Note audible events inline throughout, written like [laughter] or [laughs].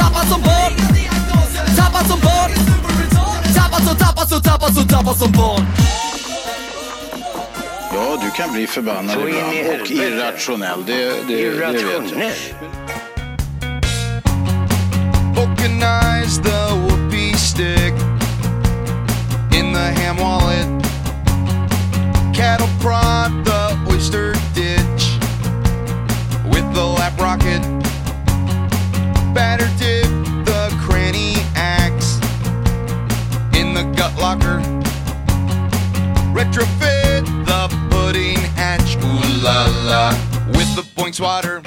Tappad som barn Tappad som barn Tappad som, tappad som, tappad som, tappad som barn Ja, du kan bli förbannad Så in i ibland och helvete. irrationell. Det, det, det vet jag. Irrationell. Vulcanize the whoopee stick in the ham wallet. Cattle prod the oyster ditch with the lap rocket. Batter dip the cranny axe in the gut locker. Retrofit the pudding hatch. Ooh la la with the boinks water.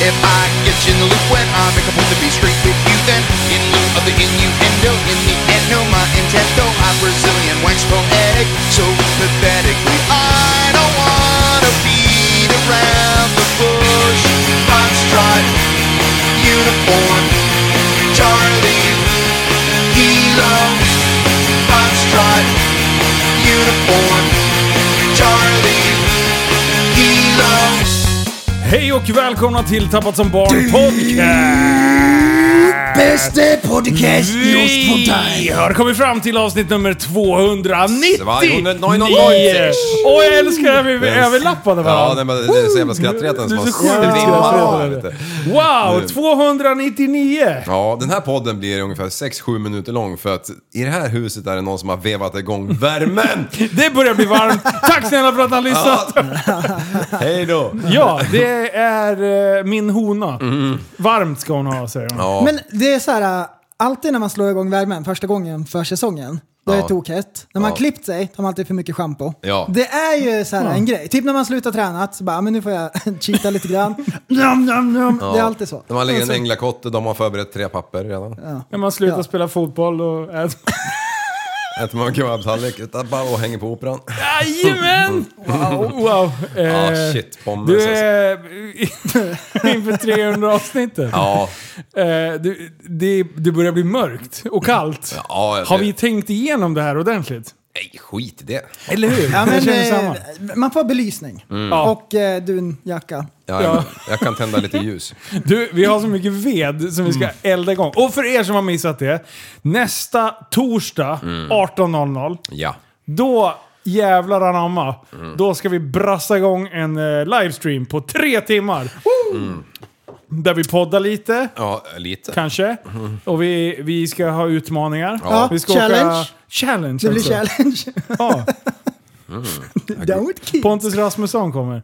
If I get you in the loop when I make a point to be straight with you, then in lieu of the innuendo, in the end, no, my intento, I'm Brazilian, wax poetic, so pathetically. I don't wanna beat around the bush. Foxtrot, uniform, Charlie, Kilo, Foxtrot, uniform, Charlie, Kilo. Hej och välkomna till Tappat som barn podcast! Bästa podcast just på Vi dig! har kommit fram till avsnitt nummer 299! Och jag älskar hur vi överlappade Ja, nej, varandra! men det är så jävla skrattretande som Du är har så sjukt skrattretande. svimmat. Mm. Wow, 299! Ja, den här podden blir ungefär 6-7 minuter lång för att i det här huset är det någon som har [laughs] vevat igång värmen. Det börjar bli varmt. Tack snälla för att ni har lyssnat! [laughs] [laughs] Hej då! Ja, det är eh, min hona. Varmt ska hon ha, säger hon. Mm. Ja, Men det är så här, äh, alltid när man slår igång värmen första gången för säsongen, då är det Ja. tokhett. När man Ja. klippt sig tar man alltid för mycket schampo. Ja. Det är ju så här en grej. Typ när man slutar träna, så bara, men nu får jag [laughs] cheata lite grann. Nom, nom, nom. Det är alltid så. När man lägger en Alltså, änglakotte, de har förberett tre papper redan. När man slutar Ja. spela fotboll och äter... Äter man kebabtallrik utan bara och hänger på operan. Jajamän! Wow, wow. Ja, Eh, Ah, shit. Bomben. Du alltså. är [laughs] inför 300 avsnitten. Ja, Eh, du, det, det börjar bli mörkt och kallt. Ja, det- Har vi tänkt igenom det här ordentligt? nej skit i det. Eller hur? [laughs] Ja, jag men, känner samma. eh, man får belysning Mm. Ja. och eh, dunjacka. Ja, Ja. Jag kan tända lite ljus. Du, vi har så mycket ved som vi Mm. ska elda igång. Och för er som har missat det. Nästa torsdag Mm. 18.00. Ja. Då jävlar anamma. Då ska vi brassa igång en eh, livestream på tre timmar. Mm. Där vi poddar lite. Ja, lite. Kanske. Och vi, vi ska ha utmaningar. Ja. Vi ska Challenge. Åka challenge Det blir också. challenge. Ja. [laughs] Don't keep. Pontus Rasmusson kommer.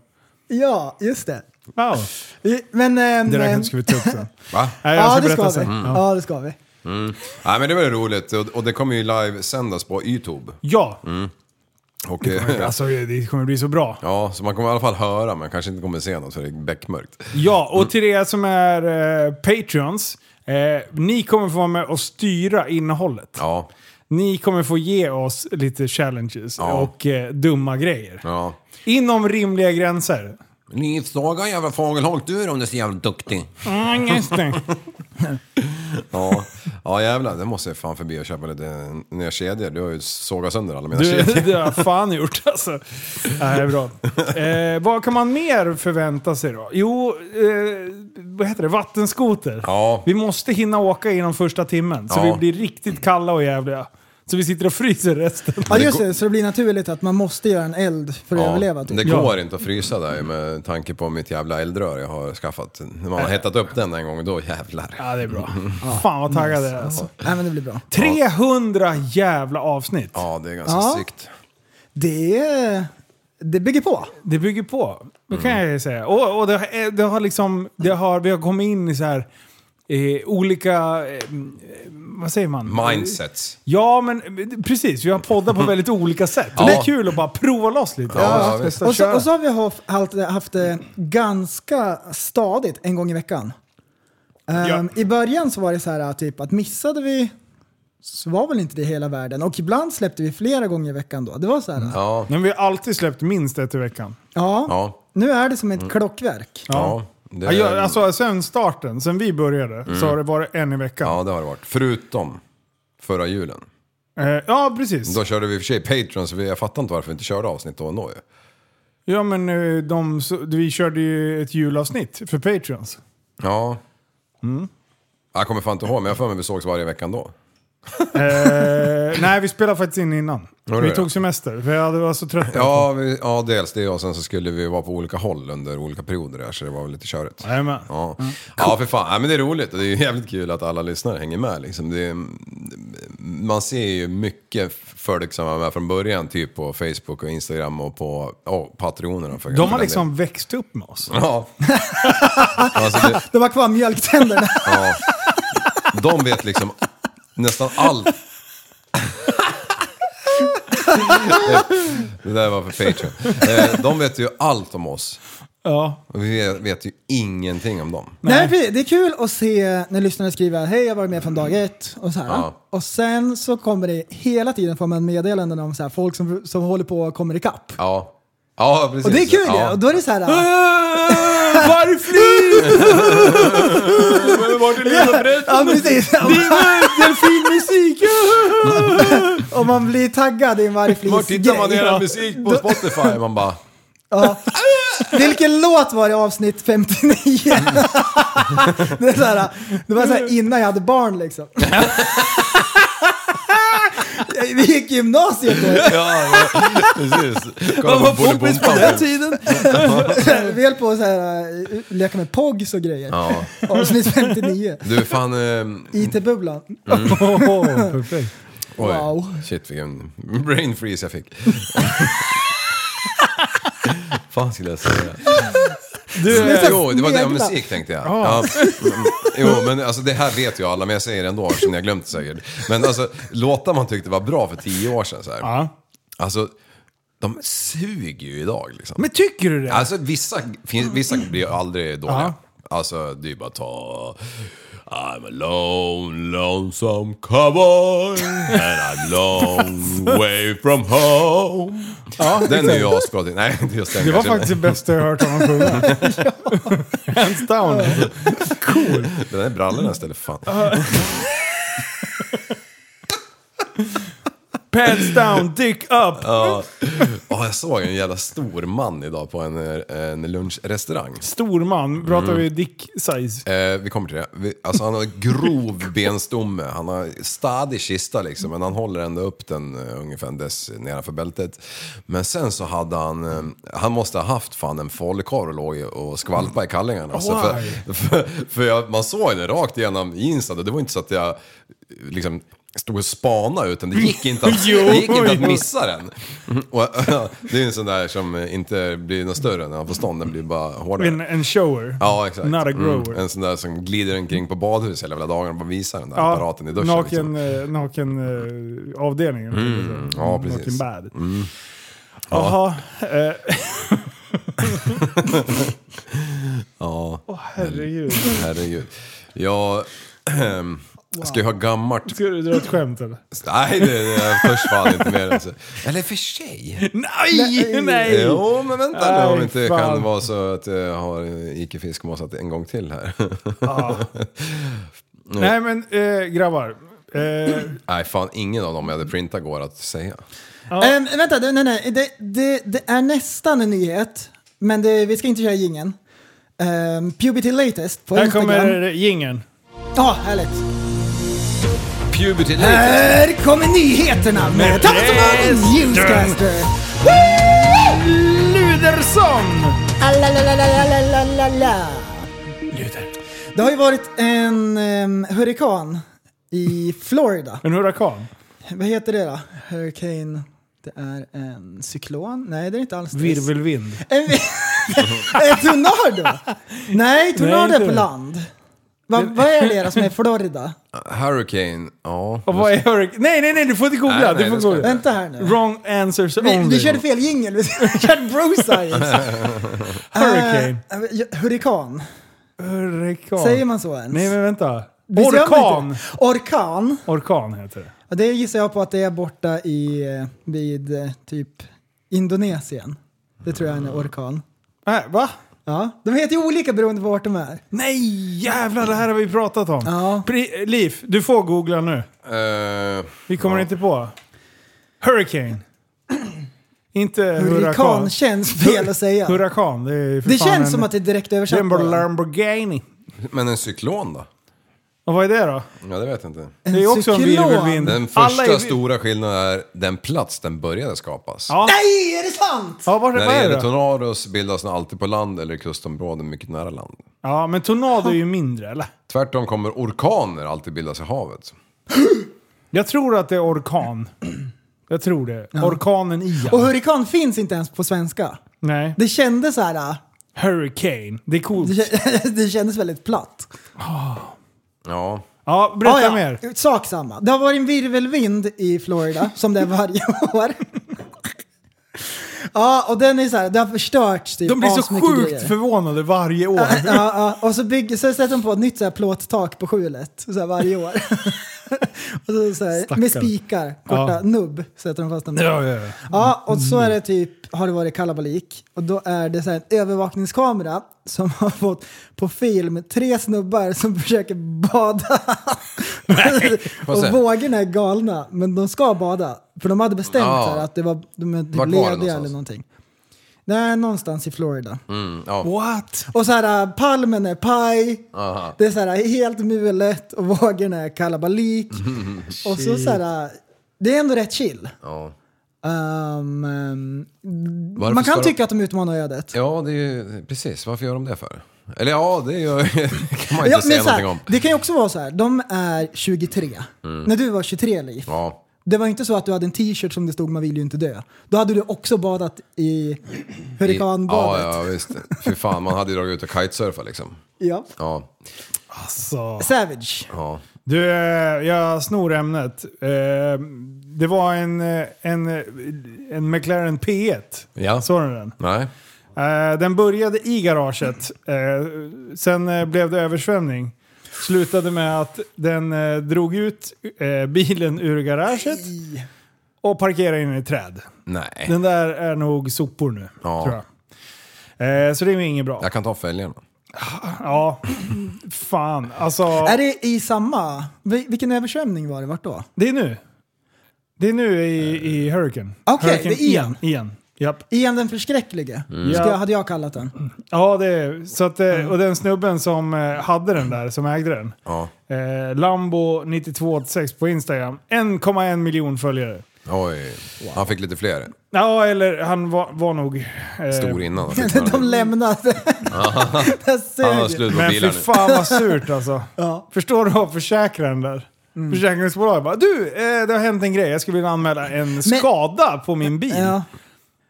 Ja, just det. Wow. I- Men... ehm, Det där ehm, kanske ska vi ta upp [laughs] sen. Va? Nej, jag ja, ska det ska berätta vi. Mm. sen. Mm. Ja. Ja, det ska vi. Nej, men det var ju roligt och, och det kommer ju livesändas på Youtube. Ja, Mm. Och, eh, alltså det kommer bli så bra. Ja, så man kommer i alla fall höra men kanske inte kommer se något för det är beckmörkt. Ja, och till er som är eh, Patreons. Eh, ni kommer få vara med och styra innehållet. Ja, Ni kommer få ge oss lite challenges Ja. och eh, dumma grejer. ja. Inom rimliga gränser. Livsdagar jävla fågelholk du är om du är så jävla duktig. Mm, just det. Ja, ja jävlar. Det måste jag fan förbi och köpa lite nya kedjor. Du har ju sågat sönder alla [laughs] mina Du, kedjor. det har jag fan gjort alltså. Ja, Det här är bra. Eh, vad kan man mer förvänta sig då? Jo, eh, vad heter det? Vattenskoter. Ja. Vi måste hinna åka inom första timmen så Ja. vi blir riktigt kalla och jävliga. Så vi sitter och fryser resten. Ja, just det. Så det blir naturligt att man måste göra en eld för att överleva. det Typ. går inte att frysa där med tanke på mitt jävla eldrör jag har skaffat. När man har hettat upp den en gång, då jävlar. Ja, det är bra. Fan vad taggad jag är alltså. Nej, men det blir bra. 300 jävla avsnitt. Ja, det är ganska Ja. sykt. Det, det bygger på. Det bygger på. Det kan jag ju säga. Och, och det, har- det har liksom, det har, vi har kommit in i så här eh, olika, eh, vad säger man? Mindsets. Ja, men eh, precis. Vi har poddar på väldigt olika sätt. Det är kul att bara prova loss lite. Ja, visst. Testa Och så, köra. och så har vi haft, haft det ganska stadigt en gång i veckan. Ehm, I början så var det så här typ att missade vi så var väl inte det hela världen. Och ibland släppte vi flera gånger i veckan då. Det var så här. Ja. Ja, Men vi har alltid släppt minst ett i veckan. ja, Mm. Nu är det som ett klockverk. ja. Det, Ja, jag, alltså sen starten, sen vi började, så har det varit en i veckan. ja, det har det varit. Förutom förra julen. Eh, ja precis. Då körde vi i och för sig Patreon, så vi- jag fattar inte varför vi inte körde avsnitt då ändå ju. Ja, men eh, de, så- vi körde ju ett julavsnitt för Patreons. Ja. Mm. Jag kommer fan inte ihåg, men jag har för mig vi sågs varje vecka då. Eh, nej, vi spelade faktiskt in innan. det vi gör tog jag. semester, för jag hade- var så trött. Ja, vi, ja, dels det och sen så skulle vi vara på olika håll under olika perioder där, så det var väl lite körigt. Jajamän. Ja, ja för fan. Ja, men det är roligt och det är ju jävligt kul att alla lyssnare hänger med. Liksom. Det är, man ser ju mycket folk som var med från början, typ på Facebook och Instagram och på oh, Patreonerna. För De har liksom växt upp med oss. [laughs] Ja. alltså, det, Det var [laughs] kvar mjölktänderna. ja. De vet liksom nästan allt. det där var för Patreon. Eh, De vet ju allt om oss. Ja. Och vi vet ju ingenting om dem. Nej, precis. det är kul att se när lyssnare skriver hej jag har varit med från dag ett och så här. Ja. Och sen så kommer det hela tiden får man meddelanden om så här, folk som, som håller på och kommer ikapp. Ja. Ja, precis. Och det är kul ja. det. Och då är det så här. Varför? Vart är Lilla Ja, precis. [laughs] Delfinmusik! och man blir taggad i en Var vargflis tittar man grej. era musik på Spotify? Man bara... Ja. Vilken låt var det i avsnitt 59? [laughs] det, är så här, det var så här innan jag hade barn liksom. [laughs] Vi gick gymnasiet då. Ja, ja precis. Kolla på Bolibompa. tiden. [laughs] Vi höll på att så här, äh, leka med POGs och grejer. Ja. Avsnitt 59. Du, fan... ehm, IT-bubblan. Åh, perfekt. Oj, Wow. shit vilken brain freeze jag fick. [laughs] Fan skulle jag säga. är så jo, det var det om snegla. musik tänkte jag. Ja. Mm, Jo, men alltså det här vet ju alla, men jag säger det ändå eftersom ni har glömt det säkert. Men alltså, låtar man tyckte var bra för tio år sedan så här. Ja. Alltså, de suger ju idag liksom. Men tycker du det? Alltså vissa, fin- vissa blir ju aldrig dåliga. Alltså det är ju bara att ta... I'm a lone, lonesome cowboy and I'm long way from home. den är ju asbra. Nej, [laughs] inte just den det var kanske. faktiskt det bästa jag hört honom sjunga. [laughs] Hands down. alltså. Den där brallorna istället för fan. Pants down, dick up. Ja, jag såg en jävla stor man idag på en, eh, en lunchrestaurang. Stor man, pratar vi Mm. dick size? Eh, vi kommer till det. Vi, alltså han har grov benstomme, han har stadig kista liksom, men han håller ändå upp den eh, ungefär en dess nedanför bältet. Men sen så hade han, eh, han måste ha haft fan en falukorv och låg i- och skvalpa i kallingarna. Alltså, för för, för jag, man såg ju det rakt igenom jeansen och det var inte så att jag eh, liksom stod och spana utan det gick inte att, det gick inte att missa den. Och, [laughs] det är ju en sån där som inte blir något större när han får stånd, den blir bara hårdare. En, en shower. Ja, exakt. Not a grower. Mm. En sån där som glider omkring på badhus hela jävla dagen och bara visar den där apparaten i duschen. naken, liksom. Mm. eh, naken eh, avdelningen. ja, Naken precis. Mm. bad. Jaha. Eh, [laughs] Ja, herregud. herregud. Jag... ehm, Ska jag ha gammalt? Ska du dra ett skämt eller? Nej, det, det törs fan inte mer än så. Eller för sig. Nej! Nej! Jo, men vänta nu Nej, om det inte fan. kan vara så att jag har Ike Fiskmåsat en gång till här. [laughs] Nej men eh, grabbar. Eh, Nej, fan ingen av dem jag hade printat går att säga. Ehm, vänta, det- nej, nej. Det, det, det är nästan en nyhet, men det, vi ska inte köra jingeln. Um, Puberty Latest på här Instagram. kommer eh, jingeln. Ja, härligt. Puberty Här kommer nyheterna med Tappatomans Newscaster. Ludersson! Alalalalalalalala. Det har ju varit en ehm, hurrikan i Florida. En hurrakan. Vad heter det då? Hurricane... Det är en cyklon? Nej, det är inte alls det. Virvelvind. En, vi- [laughs] en tornado? Nej, tornado Nej, är på inte. land. Va, vad är det då som är Florida? Hurricane, ja. Och vad är hurrikan? Nej, nej, nej, du får inte googla. Nej, nej, du får det ska googla. jag Vänta här nu. Wrong answers Vi, only. vi körde fel jingel, vi körde bro science. [laughs] Hurricane. Eh, hurrikan. Hurrikan. Säger man så ens? Nej men vänta. Visst gör man Orkan. inte det? Orkan. Orkan heter det. Ja, Det gissar jag på att det är borta i, eh, vid eh, typ Indonesien. Det tror jag är en orkan. Äh, va? Ja, de heter ju olika beroende på vart de är. Nej jävlar, det här har vi pratat om. Ja. Pri- Liv, du får googla nu. Eh, Vi kommer inte på. Hurricane. [clears throat] inte hurrakan. Hurrikan känns fel att säga. Hurrakan, det är ju för Det fan en, känns som att det är direkt det är översatt. en på den. Lamborghini. men en cyklon då? Och vad är det då? Ja, det vet jag inte. Det är också en cyklon. virvelvind. Den Alla första är- stora skillnaden är den plats den började skapas. Ja. Nej, är det sant? Ja, var, När vad det är det gäller då? tornados bildas den alltid på land eller i kustområden mycket nära land. Ja, men tornado är ju mindre, eller? Tvärtom kommer orkaner alltid bildas i havet. Jag tror att det är orkan. Jag tror det. Orkanen Ian. Och hurrikan finns inte ens på svenska. Nej. Det kändes så här... äh, Hurricane. Det är coolt. Det, kä- [laughs] det kändes väldigt platt. Ja, Ja, berätta Ah, ja. mer. Sak samma. Det har varit en virvelvind i Florida, som det är varje [laughs] år. Ja, och den är så här, det har förstörts typ De blir så asmycket sjukt grejer. förvånade varje år. Ja, ja, och så, bygger, så sätter de på ett nytt så här plåttak på skjulet så här varje år. [laughs] och så, så här, Stackarn. med spikar, korta Ja. nubb, sätter de fast dem. Ja, ja, ja. Ja, och så är det typ, har det varit kalabalik och då är det så här en övervakningskamera som har fått på film tre snubbar som [laughs] försöker bada. Vad säger [laughs] och du? vågorna är galna, men de ska bada. För de hade bestämt Ja. så här, att det var, de är typ Vart var det lediga någonstans? eller någonting. Nej, någonstans i Florida. mm, ja. What? Och så här, äh, palmen är paj. Aha. Det är så här äh, helt mulet och vågorna [laughs] är kalabalik. Mm, och så så här, äh, det är ändå rätt chill. ja. Ehm, ehm, Varför man ska kan de- tycka att de utmanar ödet. Ja, det är ju, precis. Varför gör de det för? Eller ja, det gör, [laughs] kan man inte Ja, säga men så någonting här, om. Mm. det kan ju också vara så här, de är 23. När du var 23 Liv, Ja. det var inte så att du hade en t-shirt som det stod “Man vill ju inte dö”. Då hade du också badat i hurrikanbadet. Ja, ja, visst. Fy fan, man hade ju dragit ut och kitesurfat liksom. Ja. Ja, [laughs] Alltså. Savage. ja. Du, eh, jag snor ämnet. Eh, Det var en, eh, en, eh, en McLaren P1. Ja. Såg du den? Nej. Eh, Den började i garaget. Eh, Sen eh, blev det översvämning. Slutade med att den eh, drog ut eh, bilen ur garaget och parkerade in i ett träd. Nej. Den där är nog sopor nu, Ja. tror jag. Eh, Så det är ju inget bra. Jag kan ta fälgarna. Ja, fan. Alltså, Är det i samma? vil- Vilken översvämning var det? Vart då? det är nu. Det är nu i, i Hurricane. Okej, det är igen. Ian. igen. Japp. Ian den förskräcklige, Mm. ska jag, hade jag kallat den. Ja, det är, så att, Mm. eh, och den snubben som eh, hade den där, som ägde den. Ja. Eh, Lambo9286 på Instagram. 1,1 miljon följare. Oj. Han fick lite fler. Ja, eller han var, var nog... eh, Stor innan. [laughs] De lämnade. [laughs] det Han har suger. slut på Men fy bilar nu. fan vad [laughs] surt alltså. Förstår du vad försäkraren där? Mm. Försäkringsbolaget bara du, eh, det har hänt en grej. Jag skulle vilja anmäla en skada på min bil. Ja.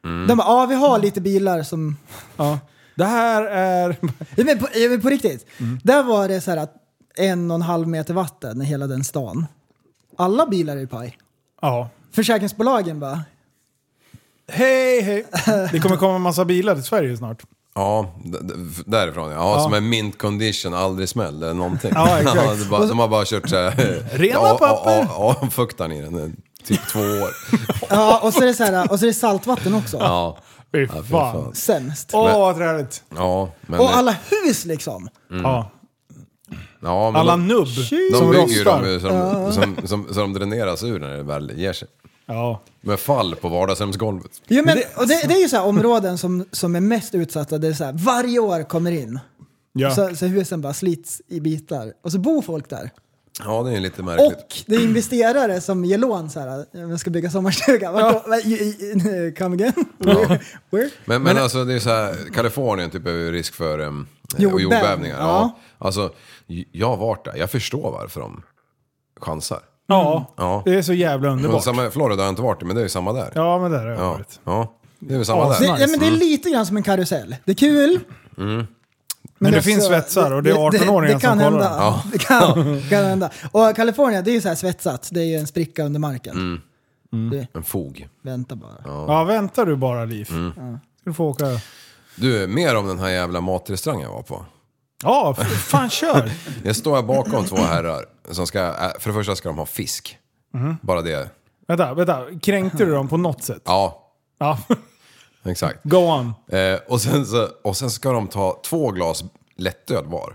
Mm. De bara, ja vi har lite bilar som... Ja. Det här är... [laughs] Ja, men på, ja, men på riktigt, Mm. där var det så här att en och en halv meter vatten i hela den stan. Alla bilar är i paj. Ja. Försäkringsbolagen bara, Hej, hej. Det kommer komma en massa bilar till Sverige snart. Ja, d- d- därifrån ja. ja. Som är mint condition, aldrig smäll eller någonting. [laughs] Ja, exakt. det är bara, de har bara kört såhär... [laughs] Rena papper. Avfuktaren i den i typ två [laughs] år. ja och så är det, så här, och så är det saltvatten också. Ja, Fy ja, fy fan. fan. Sämst. Åh, vad träligt. Ja, men... Och alla hus liksom. Ja. ja, Mm. men Alla de, nubb de som bygger ju rostar. dem ju så de, som, som, så de dräneras ur när det väl ger sig. Ja. Med fall på vardagsrumsgolvet. Jo, men, och alltså- det, det är ju så här områden som, som är mest utsatta där det är så här, varje år kommer in. Ja. Så, så husen bara slits i bitar. Och så bor folk där. Ja, det är ju lite märkligt. Och det är investerare som ger lån så här. Jag ska bygga sommarstuga. Vart då? I- i- i- Come again? Where? Where? Men, men, alltså det är så här, Kalifornien typ är ju risk för um, Jordbäv- jordbävningar. Ja. ja. Alltså, j- jag har varit där, jag förstår varför de chansar. Ja. Ja. det är så jävla Men underbart. samma, Florida har jag inte varit i, men det är ju samma där. Ja, men där har jag ja. varit. ja. Det är väl samma Asnice. Det, där. ja, men det är Mm. lite grann som en karusell. Det är kul. Men det finns svetsar och det är det- 18-åringar det kan som kollar. hända. Ja. [laughs] Det kan, kan hända. Och Kalifornien, det är ju så här svetsat. Det är ju en spricka under marken. Du, En fog. vänta bara. Mm. Ja, väntar du bara Liv. Ska du få åka. Du, mer om den här jävla matrestaurangen jag var på. Ja, f- fan kör! [laughs] Jag står här bakom två herrar som ska, äh, för det första ska de ha fisk. Bara det. vänta, vänta. Kränkte du dem på något sätt? Ja, Ja. [laughs] exakt. Go on. Eh, och, sen så, och sen ska de ta två glas lättöl var.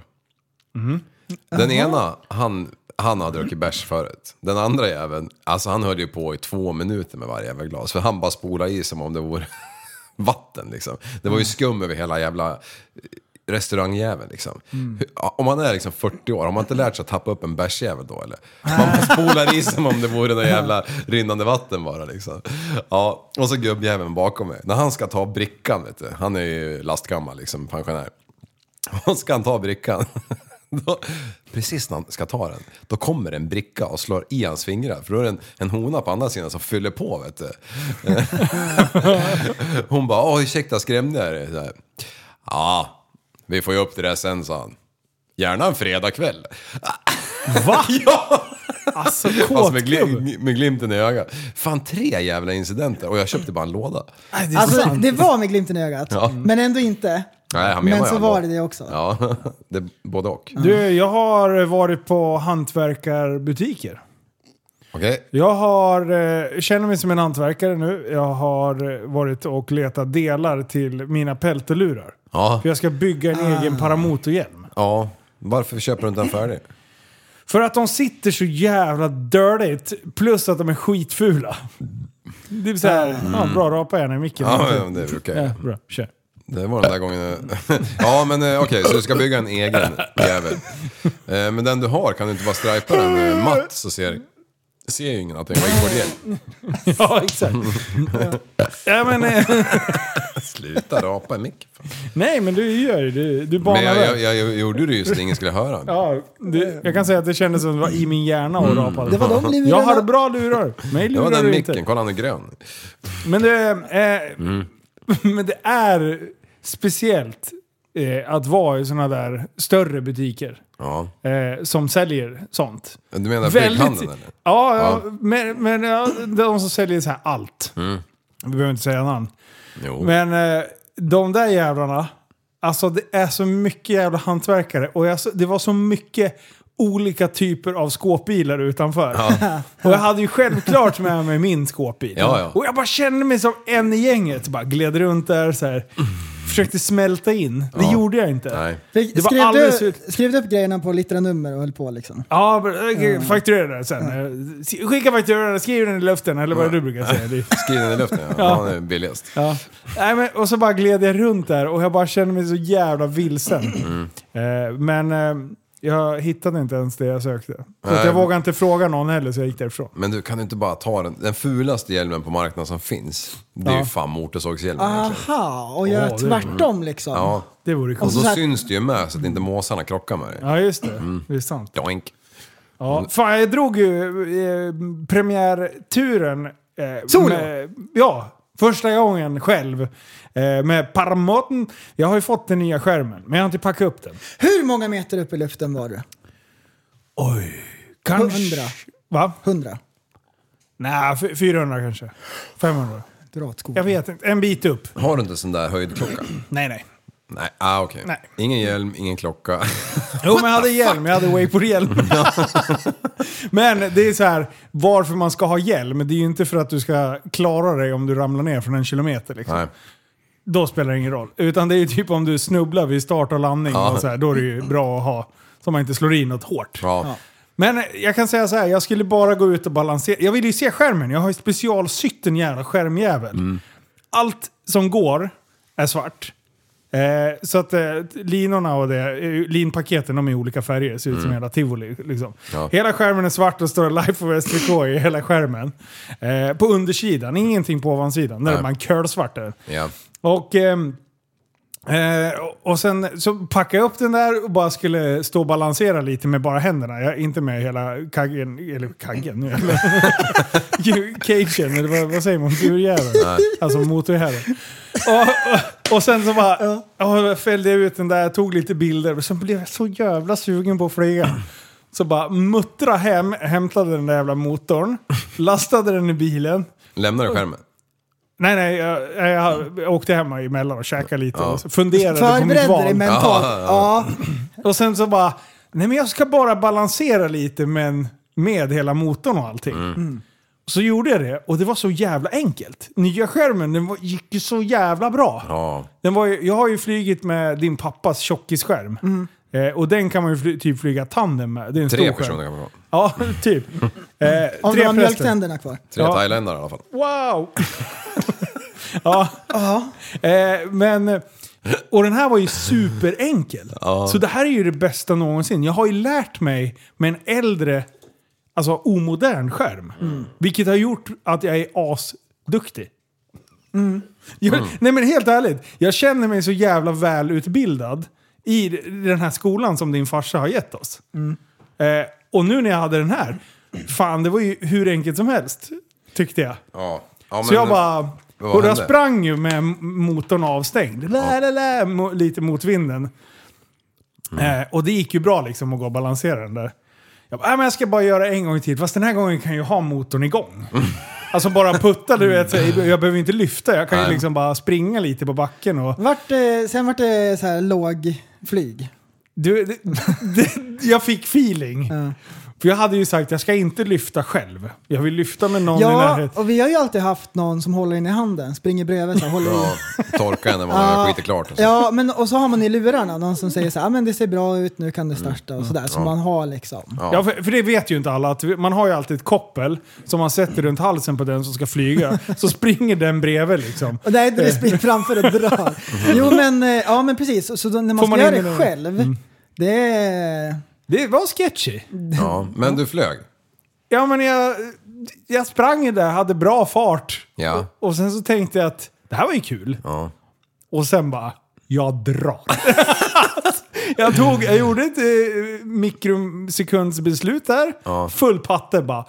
Den ena, han, han har druckit bärs förut. Den andra jäveln, alltså han höll ju på i två minuter med varje jävla glas. För han bara spolade i som om det vore [laughs] vatten liksom. Det var ju skum över hela jävla eh, restaurangjäveln liksom. Hur- Om man är liksom 40 år, har man inte lärt sig att tappa upp en bärsjävel då eller? Man bara spolar i som om det vore något jävla rinnande vatten bara liksom. Ja, och så gubbjäveln bakom mig. När han ska ta brickan vet du, han är ju lastgammal liksom, pensionär. Och ska han ta brickan. [laughs] Då, precis när han ska ta den, då kommer en bricka och slår i hans fingrar. För då är det en, en hona på andra sidan som fyller på vet du. [laughs] Hon bara, åh ursäkta skrämde jag dig? Så här, Ja, vi får ju upp det där sen sa han. Gärna en fredagkväll. [laughs] Va? Ja! Alltså Alltså med, kåtklubb. glim, med glimten i ögat. Fan tre jävla incidenter och jag köpte bara en låda. Nej, det är Alltså sant. det var med glimten i ögat, Ja. men ändå inte. Nej, han menar Men ju så allvar. var det det också. Ja, [laughs] det är både och. Du, jag har varit på hantverkarbutiker. Okej, Jag har, eh, känner mig som en hantverkare nu. Jag har eh, varit och letat delar till mina peltelurar. ja. För jag ska bygga en Ah. egen paramotorhjälm. ja. Varför köper du inte [laughs] en färdig? För att de sitter så jävla dirtigt, plus att de är skitfula. Det är så här, ja, bra rapa gärna i micken. Mm. Ja, ja, det brukar jag. Ja, bra, kör. [laughs] Det var den där gången... [laughs] Ja, men eh, okej, så du ska bygga en egen jävel. Eh, Men den du har, kan du inte bara stripa den eh, matt så ser, ser ju ingen att det är en wakeboardhjälm. Ja, exakt. ja, men, eh, [laughs] Sluta rapa i micken. fan. nej, men du gör ju du, du banar Men jag, väg. jag, jag, gjorde det ju så att ingen skulle höra. Ja, det, jag kan säga att det kändes som det var i min hjärna och rapade. Det var de lurarna. jag hade bra lurar. Mig Mm. Det var lurar den du micken, Mm. inte. kolla han är grön. Men det, eh, [laughs] men det är speciellt eh, att vara i sådana där större butiker Ja. eh, som säljer sånt. Du menar flyghandeln eller? Ja, ja, Ja. Mm. men, men ja, det är de som säljer så här allt. Vi behöver inte säga namn. Oh. Jo. Men eh, de där jävlarna, alltså det är så mycket jävla hantverkare. Och jag, det var så mycket olika typer av skåpbilar utanför. [laughs] och jag hade ju självklart med mig min skåpbil. Ja, ja. Och jag bara kände mig som en i gänget. Bara gled runt där så här. Försökte smälta in. Det Ja. gjorde jag inte. Nej. Fick- Det var Skrev, alldeles du, ut- skrev du upp grejerna på litteranummer och höll på liksom? Ja, men, eh, Mm. fakturera det sen. Eh, Skicka fakturan, skriv den i luften eller vad du brukar säga. Det- Skriv den i luften ja. Han är billigast. Ja. Nej, men, och så bara gled jag runt där och jag bara kände mig så jävla vilsen. Eh, men eh, jag hittade inte ens det jag sökte. Så att Nej. jag vågade inte fråga någon heller så jag gick därifrån. Men du, kan du inte bara ta den, den fulaste hjälmen på marknaden som finns? Det är ju fan motorsågshjälmen Ah. egentligen. Aha, och göra Åh, det var- tvärtom liksom. Ja. Det vore Och coolt. då så här- syns det ju med så att inte måsarna krockar med dig. Ja, just det. Det är sant. Doink. Ja. Fan, jag drog ju eh, premiärturen. Eh, Solo? med- Ja, första gången själv. Eh, med Paramoten. Jag har ju fått den nya skärmen, men jag har inte packat upp den. Hur många meter upp i luften var du? Oj. Kanske... Hundra. Va? 100? Nej, fy- 400 kanske. 500. Dra åt skogen. Jag vet inte. En bit upp. Har du inte sån där höjdklocka? Nej, nej. Nej, ah, okej. Nej. Ingen hjälm, ingen klocka. [laughs] Jo, men jag hade hjälm. Jag hade [laughs] wakeboardhjälm. men det är så här, varför man ska ha hjälm, det är ju inte för att du ska klara dig om du ramlar ner från en kilometer. Liksom. Nej. Då spelar det ingen roll. Utan det är ju typ om du snubblar vid start och landning, Ja. och så här, då är det ju bra att ha. Så man inte slår i något hårt. Ja. Men jag kan säga så här, jag skulle bara gå ut och balansera. Jag vill ju se skärmen. Jag har ju specialsytt en jävla skärmjävel. Mm. Allt som går är svart. Eh, så att eh, linorna och det, eh, linpaketen, de är i olika färger. Ser ut som hela tivoli. Liksom. Mm. Ja. Hela skärmen är svart och det står Life of SVK i hela skärmen. Eh, på undersidan, ingenting på ovansidan. Där Nej. man curlsvart där. ja. Och, ehm, eh, och sen så packade jag upp den där och bara skulle stå och balansera lite med bara händerna. Jag, inte med hela kaggen, eller kaggen, eller cagen, eller vad, vad säger man? Burjäveln? Alltså motorjäveln. Och, och, och sen så bara ja, fällde jag ut den där, tog lite bilder och sen blev jag så jävla sugen på att flyga. Så bara muttra hem, hämtade den där jävla motorn, lastade den i bilen. Lämnar du skärmen? Nej, nej. Jag, jag, jag åkte hem emellan och käkade lite. Ja. Och så funderade på mitt Förberedde dig val. mentalt. Ja. Och sen så bara, nej men jag ska bara balansera lite men med hela motorn och allting. Mm. Mm. Så gjorde jag det och det var så jävla enkelt. Nya skärmen den var, gick ju så jävla bra. Ja. Den var ju, jag har ju flygit med din pappas tjockisskärm. Mm. Eh, och den kan man ju fly, typ flyga tandem med. Det är en Tre stor personer Skärm. kan man vara. Ja, [laughs] typ. Eh, Om du tre har förresten. mjölktänderna kvar. Tre Ja. thailändare i alla fall. Wow! [laughs] ja. Eh, men, och den här var ju [laughs] superenkel. Så det här är ju det bästa någonsin. Jag har ju lärt mig med en äldre, alltså omodern skärm. Vilket har gjort att jag är asduktig. Mm. Jag, Nej men helt ärligt, jag känner mig så jävla välutbildad i den här skolan som din farsa har gett oss. Eh, och nu när jag hade den här, fan det var ju hur enkelt som helst. Tyckte jag. Ja. Ja, men, Så jag bara... vad Och jag hände? sprang ju med m- motorn avstängd. Lä, lä, lä, mo- lite mot vinden. Mm. Eh, och det gick ju bra liksom att gå och balansera den där. Jag bara, "Äh, men jag ska bara göra en gång till. Fast den här gången kan jag ju ha motorn [laughs] igång. alltså bara putta, du vet. så Jag jag behöver inte lyfta. Jag kan ju Nej. liksom bara springa lite på backen och... Vart, eh, sen vart det så här låg flyg. Du, det, [laughs] det, jag fick feeling. För jag hade ju sagt, jag ska inte lyfta själv. Jag vill lyfta med någon i Ja, närheten. och vi har ju alltid haft någon som håller in i handen, springer bredvid så här, håller i. Ja, torka när man har skitit klart. Och så. Ja, men och så har man i lurarna någon som säger så här, "Ah, men det ser bra ut, nu kan du starta och sådär. Så man har liksom. Ja, för, för det vet ju inte alla. Att vi- man har ju alltid ett koppel som man sätter runt halsen på den som ska flyga. Så springer den bredvid liksom. Och nej, det springer framför och drar. Jo, men, eh, ja, men precis. Så- Så då, när man Får ska man göra in det i- Mm. själv, det är... Det var sketchy. Ja. Men du flög? Ja, men jag, jag sprang ju där, hade bra fart. Ja. Och, och sen så tänkte jag att det här var ju kul. Ja. Och sen bara, jag drar. [laughs] jag, tog, jag gjorde ett eh, mikrosekundsbeslut där. Full patte bara.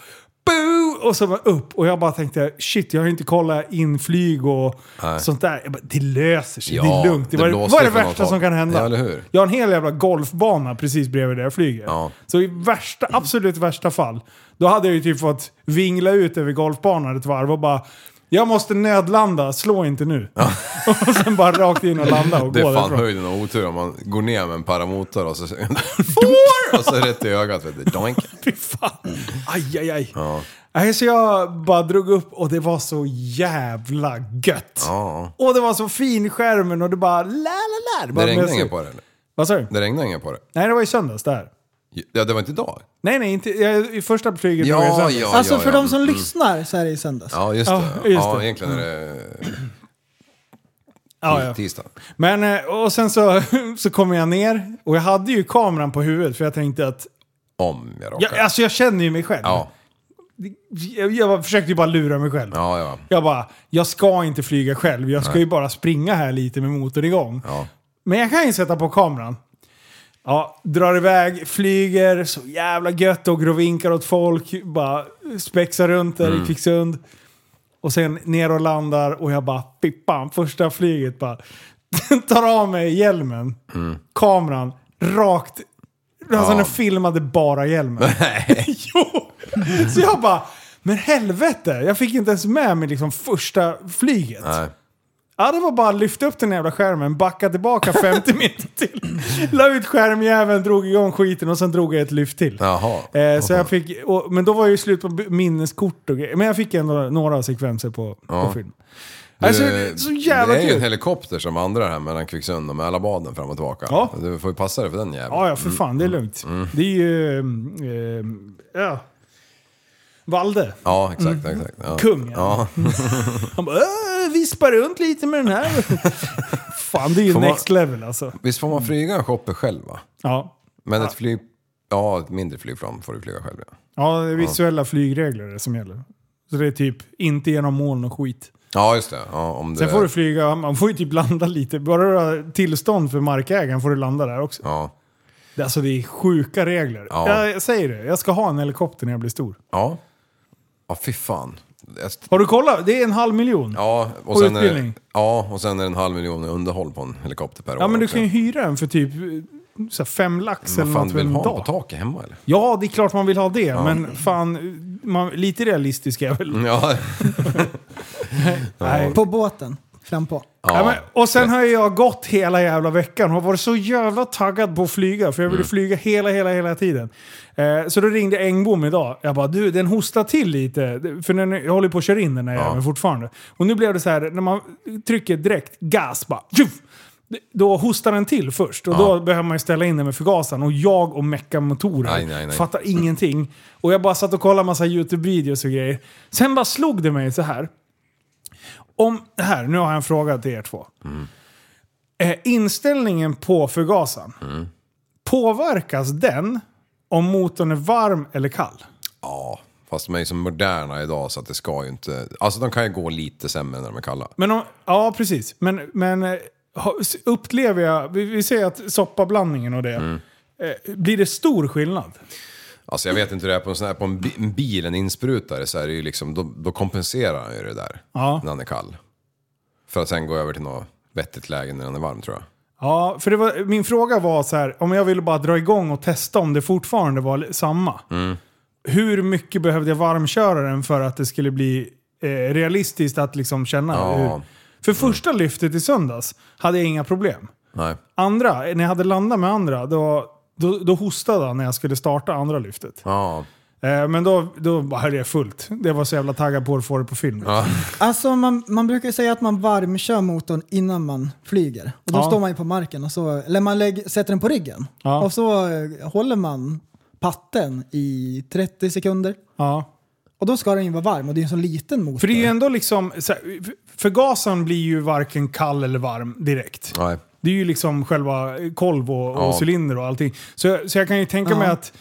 Boo! Och så var upp. Och jag bara tänkte, shit jag har ju inte kollat in flyg och sånt där. Jag bara, det löser sig, Ja, det är lugnt. Det, det var, blåser vad är det från något värsta håll. som kan hända? Ja, eller hur? Jag har en hel jävla golfbana precis bredvid där jag flyger. Ja. Så i värsta, absolut värsta fall, då hade jag ju typ fått vingla ut över golfbanan ett varv och bara jag måste nödlanda, slå inte nu. [laughs] och sen bara rakt in och landa och [laughs] Det gå är fan därifrån. höjden av otur om man går ner med en paramotor och så... [laughs] Får! och så rätt i ögat. Vet du. Doink. Fy fan. Aj, aj, aj. Nej, så jag bara drog upp och det var så jävla gött. Ja. Och det var så fin skärmen och det bara la la la. bara Det blev regnade så- inget på det eller? Vad sa du? Det regnade inget på det? Nej, det var i söndags det här. Ja, det var inte idag? Nej, nej, inte, jag, i första flyget var det i Ja, söndags. ja, Alltså ja, för ja. de som Mm. lyssnar så är det ju söndags. Ja, just det. Ja, just ja, det. Mm. egentligen är det Mm, Ja, ja. tisdag. Men eh, och sen så, [laughs] så kom jag ner och jag hade ju kameran på huvudet för jag tänkte att, Om jag råkar. jag, alltså jag känner ju mig själv. Ja, Jag, jag försökte ju bara lura mig själv. ja, ja. Jag bara, jag ska inte flyga själv, jag ska ju bara springa här lite med motorn igång. ja. Men jag kan ju sätta på kameran. Ja, drar iväg, flyger, så jävla gött, åker och vinkar åt folk, bara spexar runt där Mm. i Kvicksund. Och sen ner och landar och jag bara, fy fan, första flyget bara [laughs] tar av mig hjälmen, kameran, rakt. Alltså Mm. Ja. den filmade bara [laughs] hjälmen. [laughs] jo! Så jag bara, men helvete, jag fick inte ens med mig liksom första flyget. Nej. Ja, det var bara att lyfta upp den jävla skärmen, backa [laughs] tillbaka 50 meter till. La ut skärmjäveln, drog igång skiten och sen drog jag ett lyft till. Jaha. Eh, så jag fick, och, men då var jag ju slut på b- minneskort och grejer. Men jag fick ändå några sekvenser på, på film. Alltså, Du, så jävla det är ju en kul! helikopter som vandrar här mellan Kvicksund och Mälarbaden fram och tillbaka. Ja. Du får ju passa dig för den jäveln. Ja, ja, för fan, Mm. det är lugnt. Det är ju... ehm, ehm, ja. Valde, Ja, exakt, Mm. exakt. Ja. kungen. Ja. Han bara "Äh, vispa runt lite med den här. [laughs] fan, det är ju Får man- next level alltså. Visst får man flyga en shopper själv va? Ja. Men ett flyg... Ja, ett mindre flygplan får du flyga själv ja. Ja, det är visuella flygregler det som gäller. Så det är typ inte genom moln och skit. Ja, just det. Ja, om du Sen är- får du flyga, man får ju typ landa lite. Bara du har tillstånd för markägaren får du landa där också. Ja. Det- Alltså det är sjuka regler. Ja. Jag säger det, jag ska ha en helikopter när jag blir stor. Ja. Ja, fy fan. Jag- Har du kollat? Det är en halv miljon. Ja, och Och sen är, det- utbildning. ja, och sen är det en halv miljon i underhåll på en helikopter per år. Ja, men du också. kan ju hyra en för typ så här, fem lax eller Vad fan något för du vill en ha på dag. taket hemma eller? Ja, det är klart man vill ha det, men fan, man, Mm. lite realistisk är jag väl. Ja, Nej. På båten, fram på. Ja, men, och sen har ju jag gått hela jävla veckan och varit så jävla taggad på att flyga. För jag ville flyga hela, hela, hela tiden. Eh, så då ringde Engbom idag. Jag bara, du den hostar till lite. För den, jag håller på att köra in den här jäveln fortfarande. Och nu blev det så här, när man trycker direkt gas bara... Tjuff! Då hostar den till först och då behöver man ju ställa in den med förgasaren. Och jag och mecka motorer Nej, nej, nej. fattar ingenting. Och jag bara satt och kollade massa YouTube-videos och grejer. Sen bara slog det mig så här. Om, här, nu har jag en fråga till er två. Mm. Eh, inställningen på förgasaren. Mm. Påverkas den om motorn är varm eller kall? Ja, fast de är ju så moderna idag så att det ska ju inte... Alltså de kan ju gå lite sämre när de är kalla. Men om, ja, precis. Men, men eh, ha- upplever jag... Vi, vi säger att soppablandningen och det. Mm. Eh, blir det stor skillnad? Alltså jag vet inte hur det är på en sån här, på en, bi- en bil, en insprutare, så är det ju liksom, då, då kompenserar han ju det där. Ja. När han är kall. För att sen gå över till något vettigt läge när han är varm tror jag. Ja, för det var, min fråga var så här, om jag ville bara dra igång och testa om det fortfarande var li- samma. Hur mycket behövde jag varmköra den för att det skulle bli eh, realistiskt att liksom känna? Ja. Hur? För första lyftet i söndags hade jag inga problem. Nej. Andra, när jag hade landat med andra, då, då, då hostade han när jag skulle starta andra lyftet. Ja. Eh, men då, då bara höll jag fullt. Det var så jävla taggad på att få det på film. Alltså man, man brukar ju säga att man varmkör motorn innan man flyger. Och då Ja. står man ju på marken och så, eller man lägger, sätter den på ryggen. Ja. Och så eh, håller man patten i 30 sekunder. Ja. Och då ska den ju vara varm och det är en så liten motor. För det är ju ändå liksom, så här, förgasaren blir ju varken kall eller varm direkt. Nej. Det är ju liksom själva kolv och, Ja. och cylinder och allting. Så, så jag kan ju tänka Ja. mig att,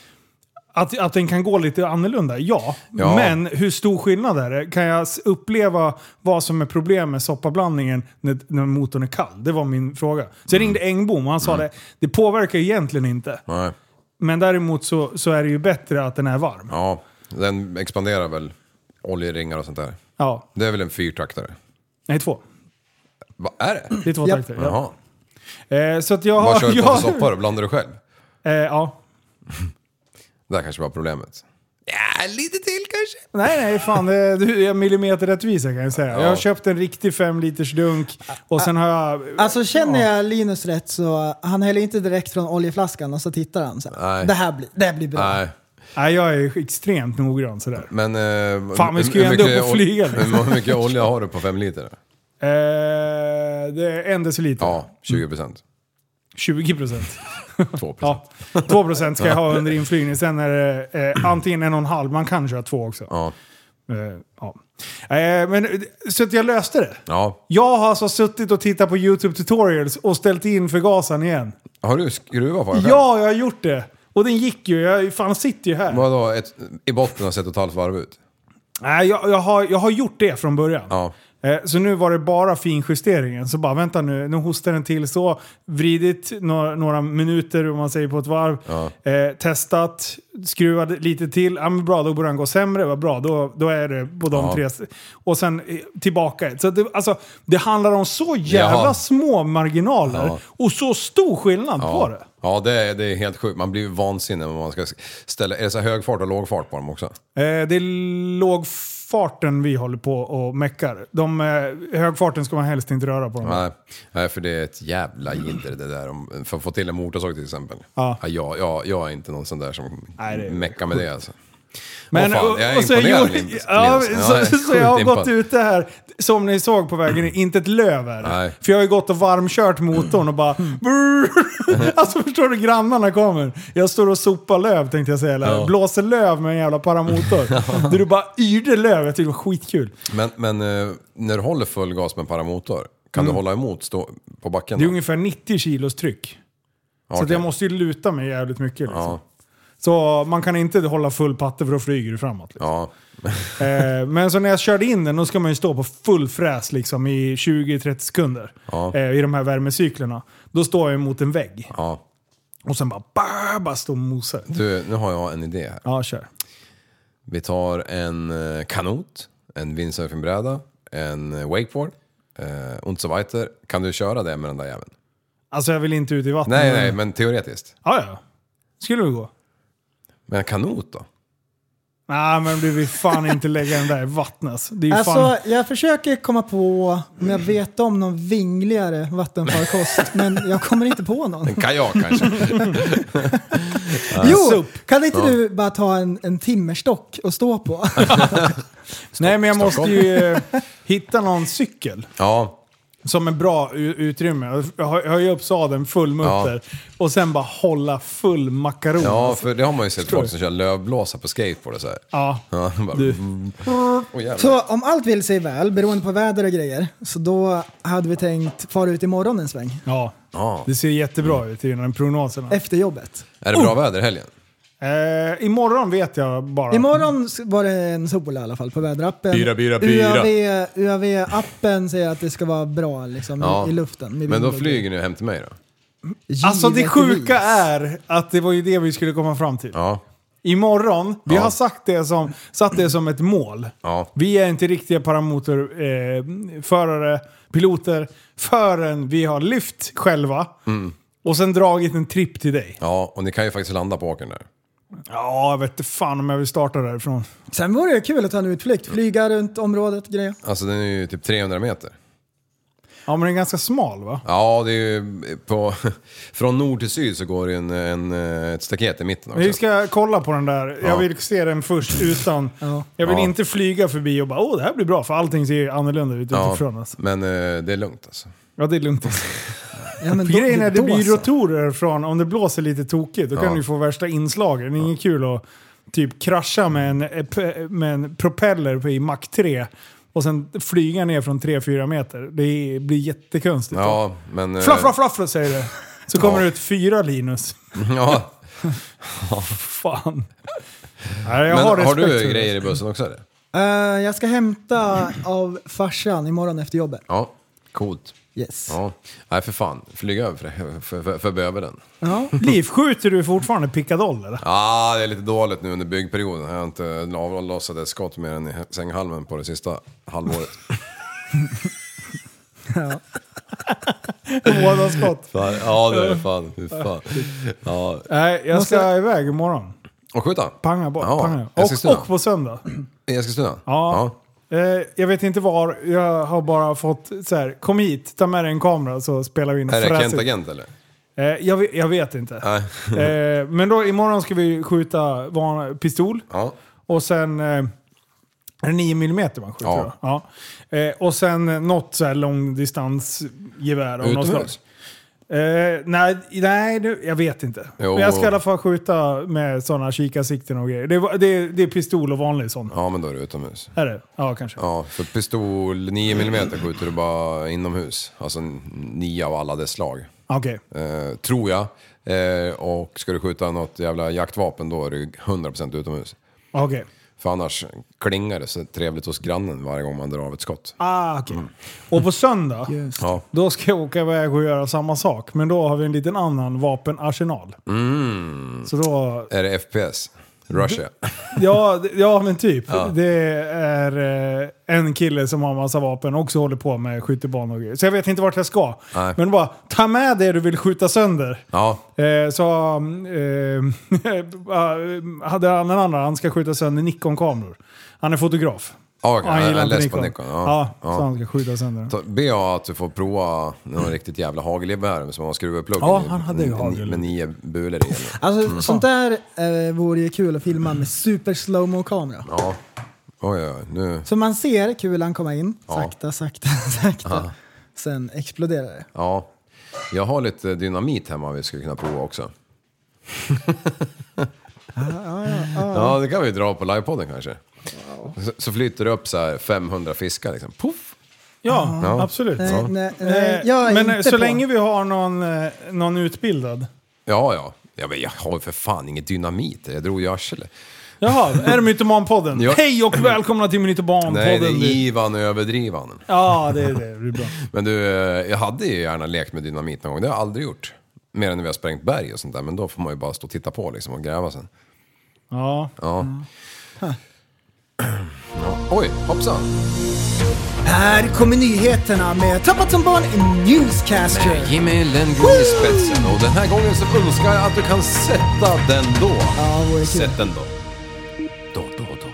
att, att den kan gå lite annorlunda, ja. Ja. Men hur stor skillnad är det? Kan jag s- uppleva vad som är problem med soppablandningen när, när motorn är kall? Det var min fråga. Så jag ringde Mm. Engbom och han sa det, det påverkar egentligen inte. Nej. Men däremot så, så är det ju bättre att den är varm. Ja. Den expanderar väl oljeringar och sånt där. Ja, Det är väl en fyrtaktare? nej två. Vad är det? Det är två Ja. takter. Ja. Jaha. Eh, så att jag har... Vad kör du på jag, för soppa då? Blandar du själv? Eh, ja. Det här kanske var problemet. Ja, lite till kanske. Nej, nej, fan. det- Du är millimeterrättvisa kan jag säga. Jag har köpt en riktig 5 liters dunk och sen har jag... Alltså känner jag Linus rätt så han häller inte direkt från oljeflaskan och så tittar han så här. Nej. Det här blir, det här blir bra. Nej, Nej, jag är extremt noggrann sådär. men... Eh, Fan, vi ska ju hur ändå mycket upp och ol- flyga nu. Hur mycket olja har du på fem liter? Eh, det är en deciliter. Ja, 20 procent. 20 procent. 2 procent. Ja. 2 procent ska jag ha under inflygning. Sen är det eh, antingen en och en halv. Man kan köra två också. Ja. Eh, ja. Eh, men, så att jag löste det. ja. Jag har alltså suttit och tittat på YouTube tutorials och ställt in förgasaren igen. Har du skruvat på den själv? Ja, jag har gjort det. Och den gick ju. Jag fan sitter ju här. Vadå, ett, i botten har sett ett halvt varv ut? Nej, jag, jag, har, jag har gjort det från början. Ja. Eh, Så nu var det bara finjusteringen. Så bara vänta nu, nu hostar den till så. Vridit några, några minuter, om man säger på ett varv. Eh, testat, skruvat lite till. Ja men bra, då borde den gå sämre. Vad bra, då, då är det på de Ja. tre. Och sen eh, tillbaka ett. Så det, alltså, det handlar om så jävla Jaha. små marginaler Ja. och så stor skillnad på det. Ja, det är, det är helt sjukt. Man blir ju vansinnig när man ska ställa... Är det så här hög fart och låg fart på dem också? Eh, det är lågfarten vi håller på och meckar. De, eh, högfarten ska man helst inte röra på. Dem. Nej. Nej, för det är ett jävla jidder det där. Om, för att få till en motorsåg till exempel. Ja. jag, jag, jag är inte någon sån där som Nej, det är meckar med det alltså. Men, Åh, fan, och- jag är och så jag imponerad, gjorde- Linus. [laughs] ja, Linus. så- Jag är Så jag har sjukt gått impad. ut det här, som ni såg på vägen in, inte ett löv är det. Nej. Mm. För jag har ju gått och varmkört motorn och bara... brrr. [laughs] alltså förstår du, grannarna kommer. Jag står och sopar löv tänkte jag säga, eller Ja. blåser löv med en jävla [laughs] paramotor. Där du bara yrde löv, jag tyckte det var skitkul. Men, men eh, när du håller full gas med paramotor, kan du hålla emot stå, på backen? Mm. Det är då? ungefär 90 kilos tryck. Så Okej. att jag måste ju luta mig jävligt mycket liksom. Ja. Så man kan inte hålla full patte för då flyger du framåt. Liksom. Ja, Eh, men så när jag körde in den, då ska man ju stå på full fräs liksom, i 20-30 sekunder. Ja. Eh, I de här värmecyklerna. Då står jag mot en vägg. ja. Och sen bara, bah, bara står och mosar. Du, nu har jag en idé här. Ja, kör. Vi tar en eh, kanot, en windsurfingbräda, en eh, wakeboard eh, och så weiter. Kan du köra det med den där jäveln? Alltså jag vill inte ut i vattnet. Nej, nej, men teoretiskt. Ja, ja. Skulle det gå. Men en kanot då? Nej, men du vill fan inte lägga den där i vattnet. alltså. Det är ju fan... Alltså, jag försöker komma på om jag vet om någon vingligare vattenfarkost, [laughs] men jag kommer inte på någon. En kajak kanske. Jo, kan inte du bara ta en, en timmerstock och [laughs] stå på? Nej, men jag måste ju eh, hitta någon cykel Ja. som är bra u- utrymme. Jag hö- Höja upp sadeln full mutter och sen bara hålla full makaron. ja, alltså. för det har man ju sett du? folk som kör lövblåsa på skateboard och så här. ja. Ja, [laughs] bara, mm. Du. Åh, jävlar. Så om allt vill sig väl, beroende på väder och grejer, så då hade vi tänkt fara ut imorgon en sväng. ja. Ja. Mm. Det ser jättebra ut i den här prognoserna. Efter jobbet. Är det bra väder i helgen? Eh, imorgon vet jag bara. Imorgon s- var det en sol i alla fall på väderappen. Byra, byra, byra. UAV UAV-appen säger att det ska vara bra liksom, i- Ja. i luften. med Men vind då och- flyger ni hem till mig då? Alltså det Givetvis. sjuka är att det var ju det vi skulle komma fram till. Ja. Imorgon, vi Ja. har sagt det som, satt det som ett mål. Ja. Vi är inte riktiga paramotorförare, eh, förare, piloter, förrän vi har lyft själva Mm. och sen dragit en tripp till dig. Ja, och ni kan ju faktiskt landa på åkern där. Ja, jag vet inte fan om jag vill starta därifrån. Sen vore det kul att ta en utflykt, flyga runt området grejer. Alltså den är ju typ 300 meter. Ja, men den är ganska smal va? Ja, det är ju på... [laughs] Från nord till syd så går det en, en, eh, ett staket i mitten också. Vi ska kolla på den där. Ja. Jag vill se den först utan... Ja. Jag vill Ja. inte flyga förbi och bara åh, det här blir bra för allting ser ju annorlunda ut Ja, utifrån. Alltså. men eh, det är lugnt alltså. Ja, det är [laughs] lugnt. Ja, men då- Grejen är det då blir så. rotorer från, om det blåser lite tokigt, då Ja. kan du få värsta inslagen. Det är inget kul att typ krascha med en, eh, p- med en propeller på- i Mach 3 och sen flyga ner från 3-4 meter. Det blir jättekonstigt. Ja, men... eh, Flaff, flaff, flaff säger det. Så kommer Ja. det ut fyra Linus. [laughs] Ja, Fan. Nej, jag men har, har, respekt för du det. grejer i bussen också eller? Eh, jag ska hämta av farsan imorgon efter jobbet. Ja, coolt. Yes. Ja. Nej för fan, flyg över för, [laughs] för, för, för bövelen. Ja. Liv, skjuter du fortfarande pickadoll [laughs] eller? Ja, ah, det är lite dåligt nu under byggperioden. Jag har inte avlossat ett skott mer än i sänghalmen på det sista halvåret. Båda skott. [laughs] Fan, ja, det är det fan. Fy fan. Ja. Nej, jag ska Måste- iväg imorgon. Och skjuta? Panga bort. Ja, panga. jag ska Och, styra. och på söndag. I Eskilstuna? Ja. Eh, jag vet inte var, jag har bara fått så här, kom hit, ta med dig en kamera så spelar vi in Ja. Är det fräsigt. Kent Agent eller? Eh, jag, vet- jag vet inte. Nej. eh, men då imorgon ska vi skjuta van, pistol Ja. och sen eh, är det 9 mm man skjuter Ja. då? Ja. Eh, och sen eh, något så här långdistansgevär av något slag. Utomhus? Eh, nej, nej det, jag vet inte. Jo. Men jag ska i alla fall skjuta med sådana kikarsikten och grejer. Det, var- det, det är pistol och vanlig sån. Ja, men då är det utomhus. Är det? Ja, kanske. Ja, för pistol 9 mm skjuter du bara inomhus. Alltså 9 av alla dess slag. Okej. Eh, tror jag. Eh, och ska du skjuta något jävla jaktvapen då är det 100% utomhus. Okej. För annars klingar det så trevligt hos grannen varje gång man drar av ett skott. Ah, okej. Och på söndag, Ja. då ska jag åka iväg och göra samma sak. Men då har vi en liten annan vapenarsenal. Mm. Så då... Är det FPS? Russia? Mm. Ja, d- ja men typ. Det är eh, en kille som har massa vapen och också håller på med skjutbanor och grejer. Så jag vet inte vart jag ska. Nej. Men bara, ta med det du vill skjuta sönder. Ja. Eh, så mm, [laughs] eh, hade han en annan, han ska skjuta sönder Nikon-kameror. Han är fotograf. Ja, okej. Och han Jag- gillar jag inte läste på Nikon. Nikon, ja. Ja, Ja. så han ska skjuta sönder den. Ta- Be om att du får prova någon riktigt jävla hagelgevär som har skruveplugg Ja, i- han hade ju med- hagel. Med nio bulor i. Alltså Mm. sånt där eh, vore ju kul att filma med super slowmo kamera Ja. Oj, oj, oj. Nu. Så man ser kulan komma in, sakta, sakta, [laughs] sakta. Sen exploderar det. Ja. Jag har lite dynamit hemma vi skulle kunna prova också. ja, det kan vi dra på livepodden kanske. Så, så flyter det upp så här 500 fiskar liksom. Puff! Ja, Ja. absolut. Nej, Ja. nej, Eh, nej, jag är men eh, inte så på. länge vi har någon, eh, någon utbildad. Ja, ja. Ja, men jag har ju för fan inget dynamit. Jag drog i arslet. Jaha, är det Mytomanpodden? Ja. Hej och välkomna till Nej, det Mytomanpodden. är Ivan Överdrivan. Ja, det är det. Det blir bra. Men du, eh, jag hade ju gärna lekt med dynamit någon gång. Det har jag aldrig gjort. Mer än när vi har sprängt berg och sånt där. Men då får man ju bara stå och titta på liksom och gräva sen. Ja. Ja. [clears throat] ja. Oj, hoppsan. Här kommer nyheterna med Tappat som barn i Newscaster. Jimmy Lenngren i spetsen och den här gången så önskar jag att du kan sätta den då. Ja, det vore kul. Sätt den då. Då, då, då.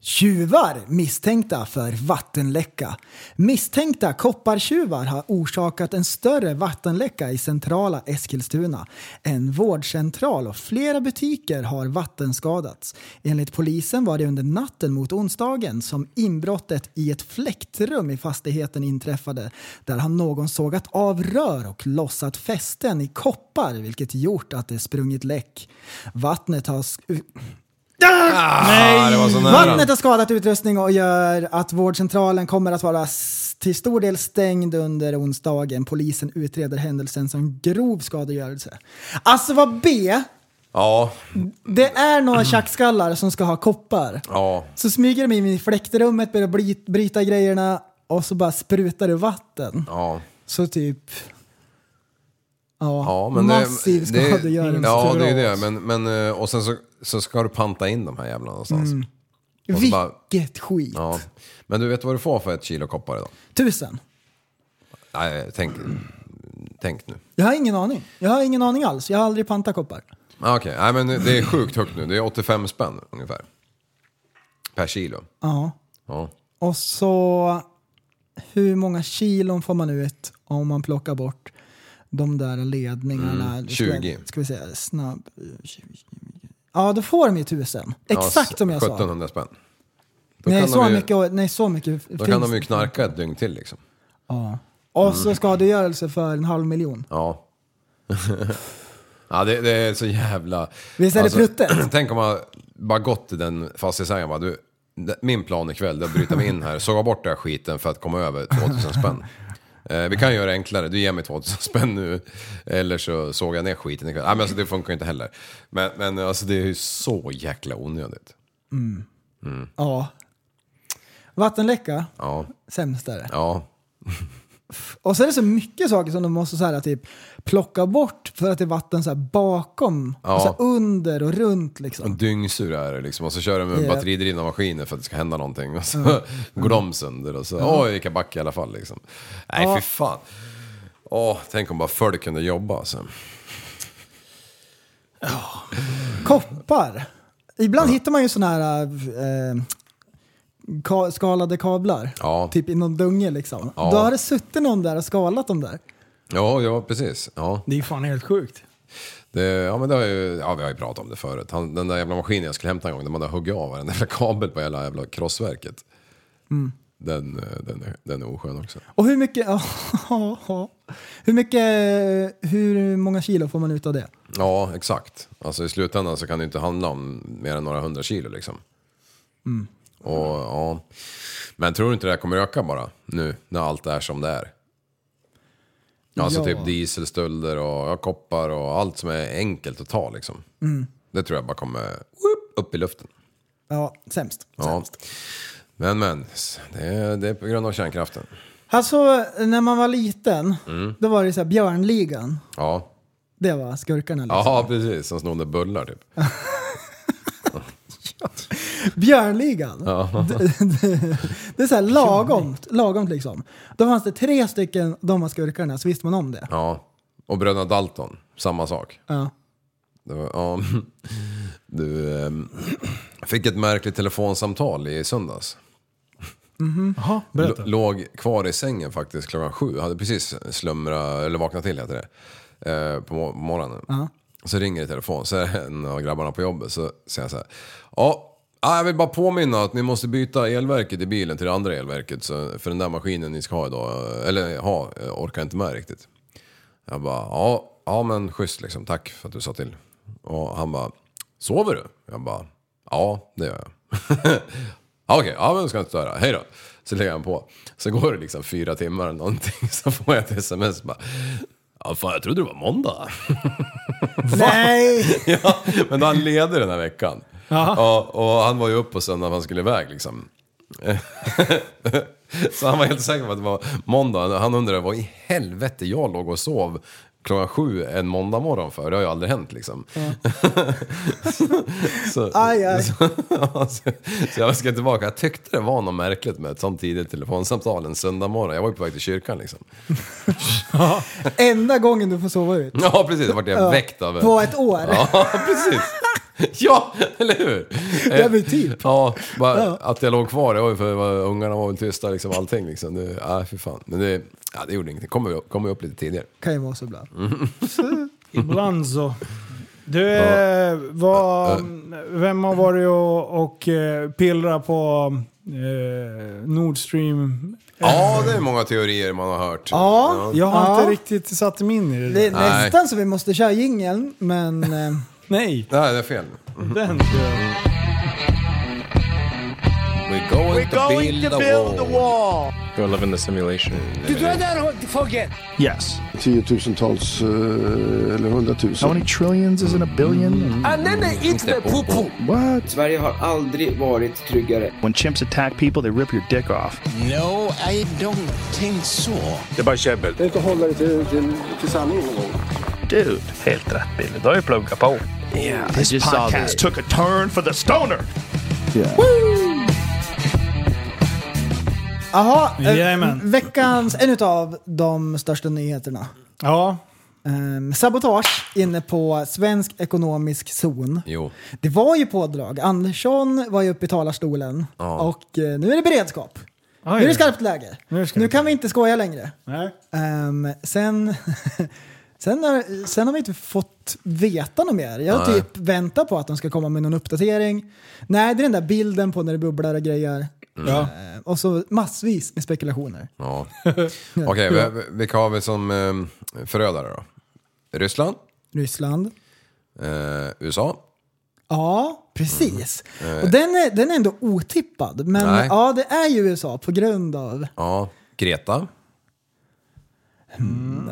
Tjuvar misstänkta för vattenläcka. Misstänkta koppartjuvar har orsakat en större vattenläcka i centrala Eskilstuna. En vårdcentral och flera butiker har vattenskadats. Enligt polisen var det under natten mot onsdagen som inbrottet i ett fläktrum i fastigheten inträffade där har någon sågat av rör och lossat fästen i koppar vilket gjort att det sprungit läck. Vattnet har... sk- Ah, det var så nära. Vattnet har skadat utrustning och gör att vårdcentralen kommer att vara s- till stor del stängd under onsdagen. Polisen utreder händelsen som grov skadegörelse. Alltså vad B, Ja, det [clears throat] är några tjackskallar som ska ha koppar. ja. Så smyger de in i fläktrummet, börjar bli- bryta grejerna och så bara sprutar det vatten. Ja, Så typ... Ja, ja men massiv det, det, skadegörelse. Ja, det är det. Men, men, eh, och sen så, så ska du panta in de här jävlarna någonstans. Mm. Och så bara- Vilket skit. Ja. Men du vet vad du får för ett kilo koppar idag? Tusen. Nej, tänk, tänk nu. Jag har ingen aning. Jag har ingen aning alls. Jag har aldrig pantat koppar. Ah, Okej, Nej, men det är sjukt högt nu. Det är 85 spänn ungefär. Per kilo. Ja. Ja. Och så hur många kilon får man ut om man plockar bort de där ledningarna? Mm, Ska jag- 20. Ska vi säga snabb... Ja, då får de ju tusen. Exakt Ja, som jag sa. 1700 spänn. Då Nej kan så, de ju, mycket, nej, så mycket Då finns- kan de ju knarka Mm. ett dygn till liksom. Ja. Och så skadegörelse för en halv miljon. Ja. [laughs] ja, det, det är så jävla... Alltså, Visst är det pruttet? [clears throat] Tänk om man bara gått till den fastighetsägaren och bara, du, det- min plan ikväll det är att bryta mig in här, såga bort den här skiten för att komma över 2000 [laughs] spänn. Eh, vi kan göra det enklare, du ger mig 2000 spänn nu, eller så sågar jag ner skiten ikväll. Nej, men alltså, det funkar ju inte heller. Men, men alltså, det är ju så jäkla onödigt. Ja. Vattenläcka, Ja, sämst är det. ja. Och så är det så mycket saker som de måste så här, typ, plocka bort för att det är vatten så här, bakom, Ja. Mm. och så här, under och runt. Liksom. Dyngsur är det liksom och så kör de med Ja. batteridrivna maskiner för att det ska hända någonting och så [laughs] går de sönder och så, oj vilka back i alla fall liksom. Nej fy fan. Åh, tänk om bara folk kunde jobba alltså. Koppar. Ibland hittar man ju sådana här eh, ka skalade kablar. Ja. Typ i någon dunge liksom. Ja. Då har det suttit någon där och skalat dem där. Ja, ja precis. Ja, Det är fan helt sjukt. det, ja men det har ju, ja vi har ju pratat om det förut. Han, den där jävla maskinen jag skulle hämta en gång, där man hade huggit av varenda [laughs] jävla kabel på hela jävla krossverket. Den, eh, den, är, den är oskön också. Och hur mycket... [laughs] hur mycket... Hur många kilo får man ut av det? Ja, exakt. Alltså i slutändan så kan det inte handla om mer än några hundra kilo liksom. Mm. Och, ja. Men tror du inte det här kommer öka bara nu när allt är som det är? Alltså Ja. typ dieselstölder och ja, koppar och allt som är enkelt att ta liksom. Mm. Det tror jag bara kommer whoop, upp i luften. Ja, sämst. Ja. Men men, det är, det är på grund av kärnkraften. Alltså, när man var liten, Mm. då var det så här Björnligan. Ja, Det var skurkarna liksom. ja precis. Som snodde bullar typ. Björnligan. [laughs] Det, det, det är så här lagomt, lagomt liksom. Då fanns det tre stycken de var skurkarna, så visste man om det. Ja. Och bröderna Dalton, samma sak. Ja. Det var, ja. Du ehm, fick ett märkligt telefonsamtal i söndags. Mm-hmm. Jaha, L- berätta. låg kvar i sängen faktiskt klockan sju. Hade precis slumrat, eller vaknat till heter det, eh, på mor- morgonen. Så ringer det i telefon, så är det en av grabbarna på jobbet. Så säger jag så här. Ja, ah, jag vill bara påminna att ni måste byta elverket i bilen till det andra elverket. Så för den där maskinen ni ska ha idag, eh, eller ha, eh, orkar inte med riktigt. Jag bara, ja, ja men schysst liksom, tack för att du sa till. Och han bara, sover du? Jag bara, ja det gör jag. [laughs] ja, okej, ja men ska inte störa, hej då. Så lägger han på. Så går det liksom fyra timmar eller någonting, [laughs] så får jag ett sms bara, ja fan jag trodde det var måndag. Nej! ja, [laughs] men han leder den här veckan. Jaha. Ja, och han var ju uppe och sen när han skulle iväg liksom. [laughs] Så han var helt säker på att det var måndag. Han undrade vad i helvete jag låg och sov klockan sju en måndag morgon för. Det har ju aldrig hänt liksom. så, Aj, [laughs] aj. Så, ja, [laughs] så, så jag ska tillbaka. Jag tyckte det var något märkligt med ett sånt tidigt telefonsamtal en söndag morgon. Jag var ju på väg till kyrkan liksom. [laughs] Enda gången du får sova ut. Ja [laughs] precis, då vart jag Mm. väckt av en- På ett år. Ja, precis. Ja, eller hur? Eh, Ja, men typ. Ja, bara Ja. att jag låg kvar, det var ju för vad- ungarna var väl tysta liksom, allting liksom. Det, ja, för fan. Men det, ja, det gjorde ingenting. Kommer upp, kommer upp lite tidigare. Kan ju vara så ibland. Mm. Ibland så. Du, eh, vad, vem har varit och, och eh, pillrat på eh, Nord Stream? Ja, det är många teorier man har hört. Ja, Jag har Ja. inte riktigt satt mig in i det. Det är där. Nej. nästan så vi måste köra jingeln, men... eh, Nej, Nej, det är fel. den kör jag. We're going, to, build a wall. You're living the simulation. Yes. tiotusentals eh, eller hundratusen. many trillions is in a billion? What? Sverige har aldrig varit tryggare. When chimps attack people, they rip your dick off. No, I don't think so. Det är inte att hålla det till, till, till sanningen någon gång. Dude, helt rätt Billy. Du har ju pluggat på. Yeah, this podcast took a turn for the stoner. Jaha, eh, Jajamän. veckans, en av de största nyheterna. Ja, Ehm, sabotage inne på svensk ekonomisk zon. Jo. Det var ju pådrag. Andersson var ju uppe i talarstolen och eh, nu är det beredskap. Oj. Nu är det skarpt läge. Nu är Nu, det skarpt. kan vi inte skoja längre. nej. Ehm, sen, [laughs] sen, har, sen har vi inte fått veta något mer. Jag Nej. typ väntar på att de ska komma med någon uppdatering. Nej, det är den där bilden på när det bubblar och grejer. Mm. Ja. Ehm, Och så massvis med spekulationer. Ja. Okej, vi- vi- vilka har vi som eh, förödare då? Ryssland, Ryssland. eh, USA. Ja, precis. Och den är, den är ändå otippad. Men Mm. Nej. ja, det är ju USA på grund av... Ja, Greta. Mm.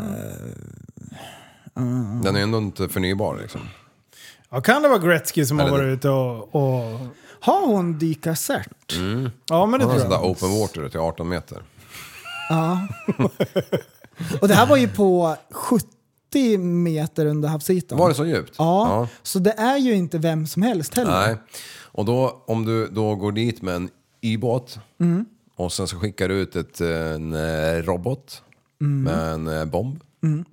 Den är ju ändå inte förnybar liksom. Ja, kan det vara Gretzky som har Eller det- varit ute och, och... Har hon dykarcert? Ja, men det Han har tror sånt där jag. open water till 18 meter. Och det här var ju på 70 meter under havsytan. Var det så djupt? Ja, så det är ju inte vem som helst heller. Nej. Och då, om du då går dit med en ubåt Mm. och sen så skickar du ut ett, eh, en eh, robot Mm. med en eh, bomb.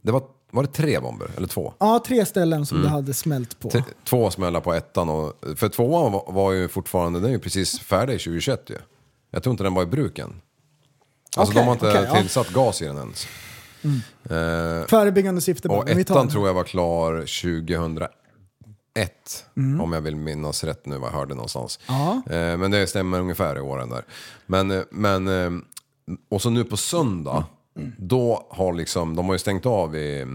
Det var, var det tre bomber? Eller två? Ja, tre ställen som det hade smält på. T- Två smällar på ettan. Och, för tvåan var, var ju fortfarande, den är ju precis färdig 2021 ju. Jag tror inte den var i bruk än. Alltså Okej, de har inte okej, ja. tillsatt gas i den ens. Eh, Förebyggande syfte bara. och men vi tar ettan den. tror jag var klar 2001. Mm. Om jag vill minnas rätt nu vad jag hörde någonstans. Eh, men det stämmer ungefär i åren där. Men, eh, men, eh, och så nu på söndag, Mm. då har liksom, de har ju stängt av i,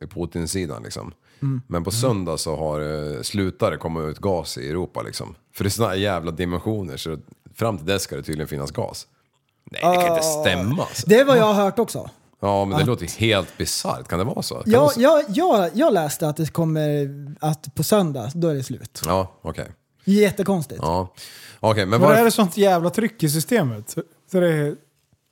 i Putin-sidan liksom. Mm. Men på söndag så har eh, slutar det komma ut gas i Europa liksom. För det är såna här jävla dimensioner så fram till dess ska det tydligen finnas gas. Nej, det kan inte stämma. Alltså. Ah. Det Ah. är vad jag har hört också. Ja, men det låter helt bisarrt. Kan det vara så? Kan Jag, det så? jag, jag, jag läste att det kommer att på söndag, då är det slut. Ja, okej. Jättekonstigt. Ja, okej, men Var varför... är det sånt jävla tryck i systemet? Så det,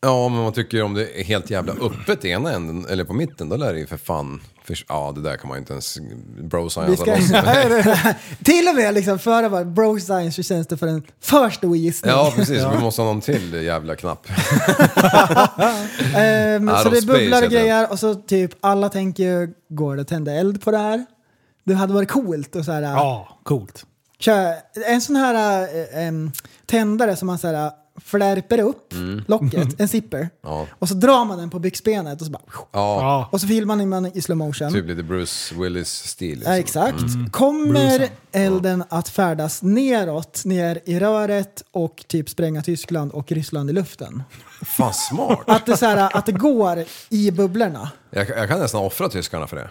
Ja, men man tycker om det är helt jävla öppet i ena änden, eller på mitten, då lär det ju för fan... För, ja, det där kan man ju inte ens Vi bro-sciensa ska, [laughs] loss. till och med liksom före var bro science så känns det för en för stor gissning. Ja, precis. Vi måste ha någon till jävla knapp. Ehm, Out så of det space bubblar och heter grejer och så typ alla tänker ju, går det att tända eld på det här? Det hade varit coolt och så här, ja, coolt. köra en sån här eh, em, tändare som man så här eh, flärper upp [laughs] locket, en zipper. Mm. Ja. Och så drar man den på byxbenet och så bara... Ja, Ja. Och så filmar ni man i slow motion. typ lite Bruce Willis-stil. Ja, Liksom. exakt. Kommer elden att färdas neråt, ner i röret och typ spränga Tyskland och Ryssland i luften? Fan, smart! Att det, så här, att det går i bubblorna. Jag, jag kan nästan offra tyskarna för det.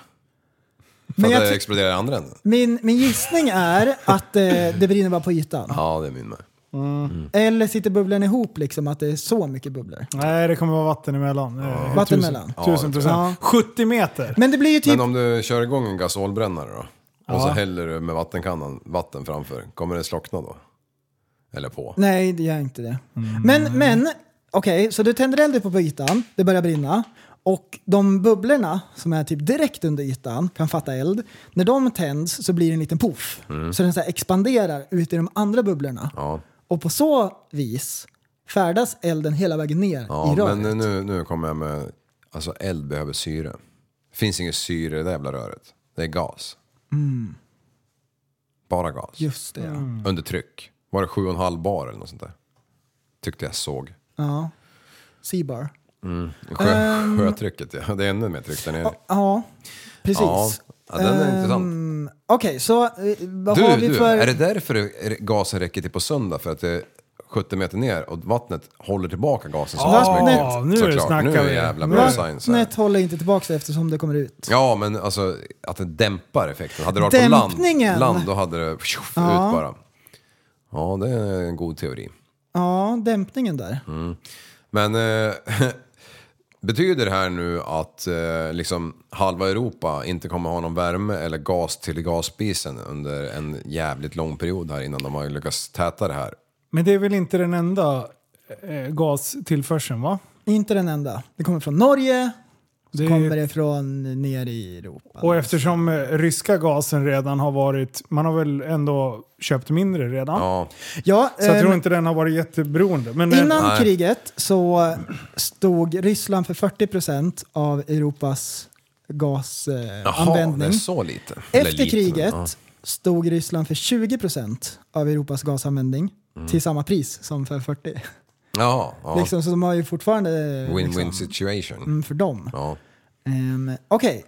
För Men att jag det ty- exploderar i andra änden. Min, min gissning är att eh, det brinner bara på ytan. Ja, det är min Typ- med. Eller sitter bubblan ihop liksom, att det är så mycket bubblor. Nej, det kommer vara vatten emellan. Eh, Vatten tusen- emellan. Ja, Tusen det procent. tror 70 meter. Men det blir ju typ... Men om du kör igång en gasolbrännare då? Och så häller du med vattenkannan vatten framför. Kommer det slockna då? Eller på? Nej, det gör inte det. Men, men okej, så du tänder eld på ytan, det börjar brinna. Och de bubblorna som är typ direkt under ytan kan fatta eld. När de tänds så blir det en liten puff. Så den så här expanderar ut i de andra bubblorna. Mm. Ja. Och på så vis färdas elden hela vägen ner Ja, i röret. men nu, nu kommer jag med... Alltså eld behöver syre. finns inget syre i det jävla röret. Det är gas. Bara gas. Mm. Just det, ja. Mm. Under tryck. Var det 7,5 bar eller något sånt där? Tyckte jag såg. Ja. Seabar. Mm. Sjö, Ehm. Sjötrycket ja, det är ännu mer tryck där nere. Ja, precis. Ja, ja, den är Ehm, Okej, så eh, vad Du, har vi du, för... är det därför det- är det- gasen räcker till på söndag? För att det är 70 meter ner och vattnet håller tillbaka gasen så pass Vattnet- mycket? nu Såklart, snackar nu är det vi. jävla bra science här. Vattnet håller inte tillbaka sig eftersom det kommer ut. Ja, men alltså att den dämpar effekten. Hade det varit Dämpningen. på land, land, då hade det tjoff, Ja. ut bara. Ja, det är en god teori. Ja, dämpningen där. Mm. Men eh, [laughs] betyder det här nu att eh, liksom halva Europa inte kommer ha någon värme eller gas till gasspisen under en jävligt lång period här innan de har lyckats täta det här? Men det är väl inte den enda eh, gastillförseln va? Inte den enda. Det kommer från Norge, så Det är- kommer det från ner i Europa. Och eftersom eh, ryska gasen redan har varit, man har väl ändå köpt mindre redan? Ja. Ja, Så jag eh, tror inte den har varit jätteberoende. Men eh, Innan kriget så stod Ryssland för 40 procent av Europas gasanvändning. Eh, Jaha, det är användning. så lite. Eller lite, Efter men, kriget ja. stod Ryssland för 20 procent av Europas gasanvändning till samma pris som för 40. Ja, Mm. ja. [laughs] Liksom, så de har ju fortfarande... eh, Win-win liksom, situation. mm, för dem. Ja. Ehm, Okej,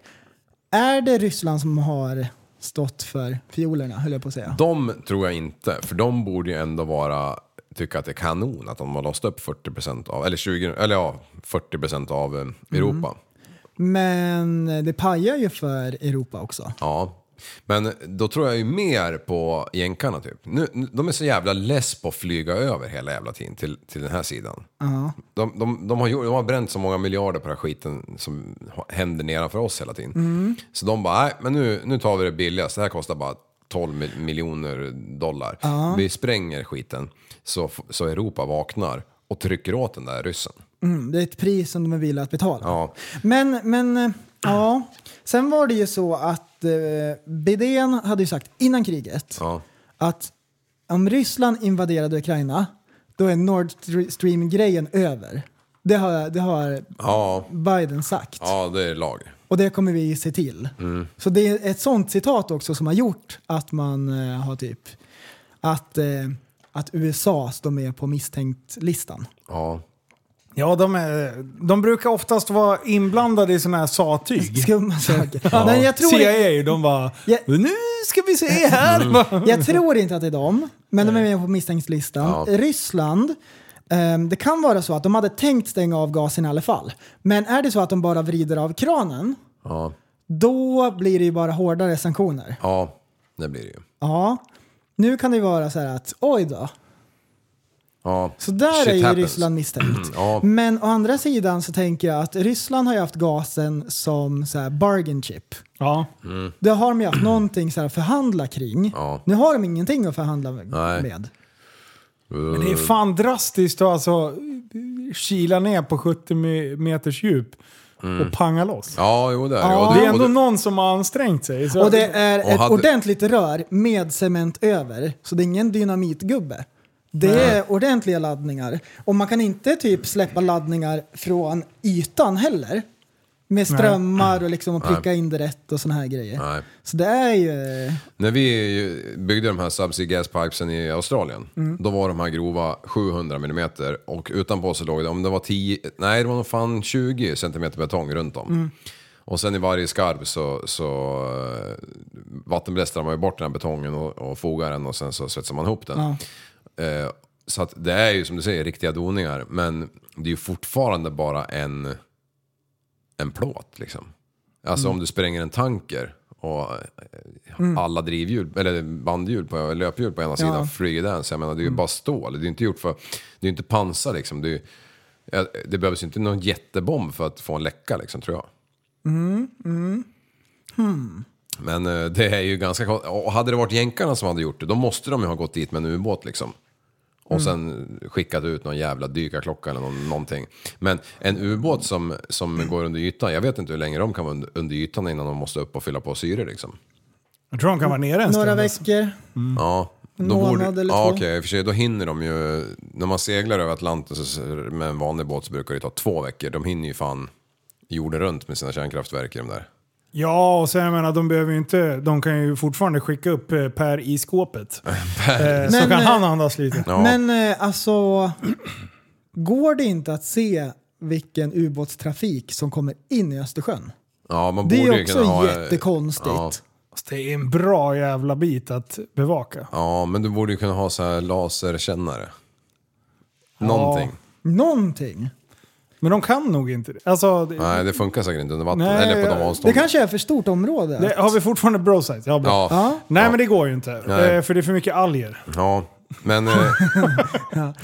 är det Ryssland som har stått för fiolerna, höll jag på att säga? De tror jag inte, för de borde ju ändå vara tycka att det är kanon att de har låst upp 40% av, eller 20, eller ja, 40% av eh, Europa. Men det pajar ju för Europa också. Ja. Men då tror jag ju mer på jänkarna typ. Nu, nu- de är så jävla less på att flyga över hela jävla tiden till, till den här sidan. Ja. De, de, de, har, gjort- de har bränt så många miljarder på den här skiten som ha- händer nedanför oss hela tiden. Mm. Så de bara, nej men nu, nu tar vi det billigaste, det här kostar bara 12 mil- miljoner dollar. Ja. Vi spränger skiten så, f- så Europa vaknar och trycker åt den där ryssen. Mm, det är ett pris som de är villiga att betala. Ja. Men, men eh, ja. Sen var det ju så att eh, Bidén hade ju sagt innan kriget Ja. att om Ryssland invaderade Ukraina, då är Nord Stream-grejen över. Det har, det har Ja. Biden sagt. ja, det är lag. Och det kommer vi se till. Mm. Så det är ett sånt citat också som har gjort att man eh, har typ att, eh, att USA står med på misstänkt-listan. Ja. Ja, de, är, de brukar oftast vara inblandade i såna här satyg. Skumma saker. [laughs] Ja. Men jag tror- CIA, de bara... Nu ska vi se här! Mm. Jag tror inte att det är dem, men de är med på misstänkslistan. Ja. Ryssland, ehm, det kan vara så att de hade tänkt stänga av gasen i alla fall. Men är det så att de bara vrider av kranen, Ja. då blir det ju bara hårdare sanktioner. Ja, det blir det ju. Ja, nu kan det ju vara så här att oj då. Ja. Så där Shit är ju happens. Ryssland misstänkt. [clears throat] Ja. Men å andra sidan så tänker jag att Ryssland har ju haft gasen som så här bargain chip. [laughs] Ja. Mm. Det har de ju haft någonting så här att förhandla kring. Nu har de ingenting att förhandla Nej. med. Men det är Mm. fan drastiskt att alltså kila ner på 70 me- meters djup Mm. och panga loss. Ja, jo det är det. Ja, Och det är och ändå någon som har ansträngt sig. så- Och det är Och ett hade- ordentligt rör med cement över, så det är ingen dynamitgubbe. Det Nej. är ordentliga laddningar. Och man kan inte typ släppa laddningar från ytan heller. Med strömmar och liksom att Nej. pricka in det rätt och sådana här grejer. Nej. Så det är ju... När vi ju byggde de här subsea gaspipesen i Australien, Mm. då var de här grova 700 mm och utanpå så låg det, om det var 10, nej det var nog fan 20 cm betong runt om. Mm. Och sen i varje skarv så, så eh, vattenblästrar man ju bort den här betongen och, och fogar den och sen så svetsar man ihop den. Ja. Eh, så att det är ju som du säger riktiga doningar, men det är ju fortfarande bara en, en plåt liksom. Alltså Mm. om du spränger en tanker och eh, Mm. alla drivhjul, eller bandhjul på, löphjul på ena sidan flyger den. Så jag menar det är Mm. ju bara stål, det är ju inte gjort för, det är ju inte pansar liksom. Det, är, ju- eh, det behövs ju inte någon jättebomb för att få en läcka liksom tror jag. Mm, mm. Hmm. Men eh, det är ju ganska kon- Och hade det varit jänkarna som hade gjort det, då måste de ju ha gått dit med en ubåt liksom. Mm. Och sen skickat ut någon jävla dykarklocka eller någon, någonting. Men en ubåt som, som går under ytan, jag vet inte hur länge de kan vara under, under ytan innan de måste upp och fylla på syre liksom. Jag tror de kan vara nere en Några stund. veckor. Ja. Mm. En då månad borde- eller ja, två. Okej, i och för sig, då hinner de ju... När man seglar över Atlanten så, med en vanlig båt så brukar det ta två veckor. De hinner ju fan jorden runt med sina kärnkraftverk i de där. Ja, och sen jag menar, de behöver ju inte... De kan ju fortfarande skicka upp eh, Per i [laughs] skåpet. Eh, så Men, kan eh, han andas lite. Men eh, alltså, [clears throat] går det inte att se vilken ubåtstrafik som kommer in i Östersjön? Ja, man Det är borde ju också kunna ha... jättekonstigt. Ja, Fast Det är en bra jävla bit att bevaka. ja, men du borde ju kunna ha så här laserkännare. Någonting. Någonting. Men de kan nog inte det. Alltså, det, Nej, det funkar säkert inte under vatten. Nej, eller på de det Det avstånden. kanske är för stort område. det, har vi fortfarande brosight? Ja, bra. Ja. Ja. Nej, men det går ju inte. Nej. Eh, för det är för mycket alger. Ja, men... eh, Ja,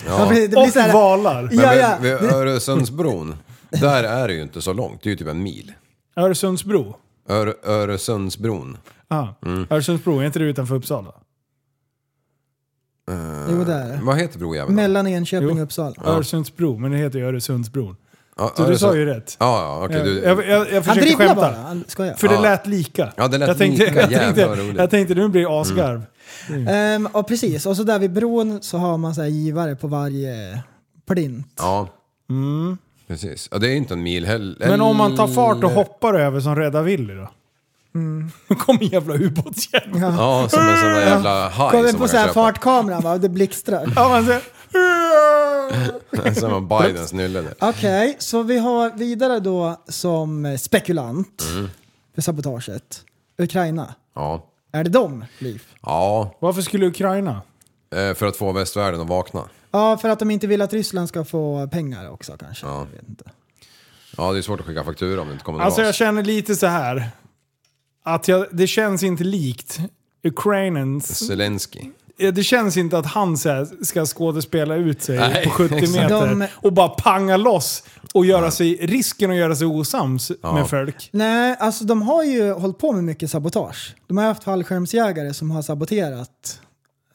ja. men det blir så här- Och valar. Men Ja, ja. vid, vid Öresundsbron, där är det ju inte så långt. Det är ju typ en mil. Öresundsbro. Öre, Öresundsbron. Ja. Mm. Öresundsbro, är inte det utanför Uppsala? Jo, det är det. Vad heter brojäveln? Mellan Enköping Jo. och Uppsala. Öresundsbro, men det heter ju Öresundsbron. Ja, Så du Öresund- sa ju rätt. Ja, ja, okej. du- jag, jag, jag, jag Han försökte dribblar skämta. bara. Han skojar. För det Ja. lät lika. Ja, det lät jag tänkte, [laughs] lika. Jag tänkte, Jävlar vad roligt. Mm. jag tänkte nu blir det asgarv. Ehm, och precis, och så där vid bron så har man så här givare på varje plint. Ja. Precis. Ja, det är ju inte en mil heller. Men om man tar Mm. fart och hoppar över som Rädda Willy då? Mm. [laughs] Nu kommer jävla ubåtsjävel. Ja. Ja, som en sån där jävla haj Kommer som på man så kan här köpa. fartkameran va, och det blixtrar. man [laughs] säger, Som en Bidens nylle där. Okej, så vi har vidare då som spekulant Mm. för sabotaget. Ukraina. Ja. Är det dem, Liv? Ja, Varför skulle Ukraina? eh, för att få västvärlden att vakna. Ja, för att de inte vill att Ryssland ska få pengar också kanske. Ja. Jag vet inte. Ja, det är svårt att skicka faktura om det inte kommer någon Alltså jag gas. känner lite så här. Att jag, det känns inte likt Ukrainans. Zelensky. Eh, Det känns inte att han så här ska skådespela ut sig Nej, på 70 exakt. meter De- och bara panga loss och göra sig, risken att göra sig osams med folk. Nej, alltså de har ju hållit på med mycket sabotage. De har haft fallskärmsjägare som har saboterat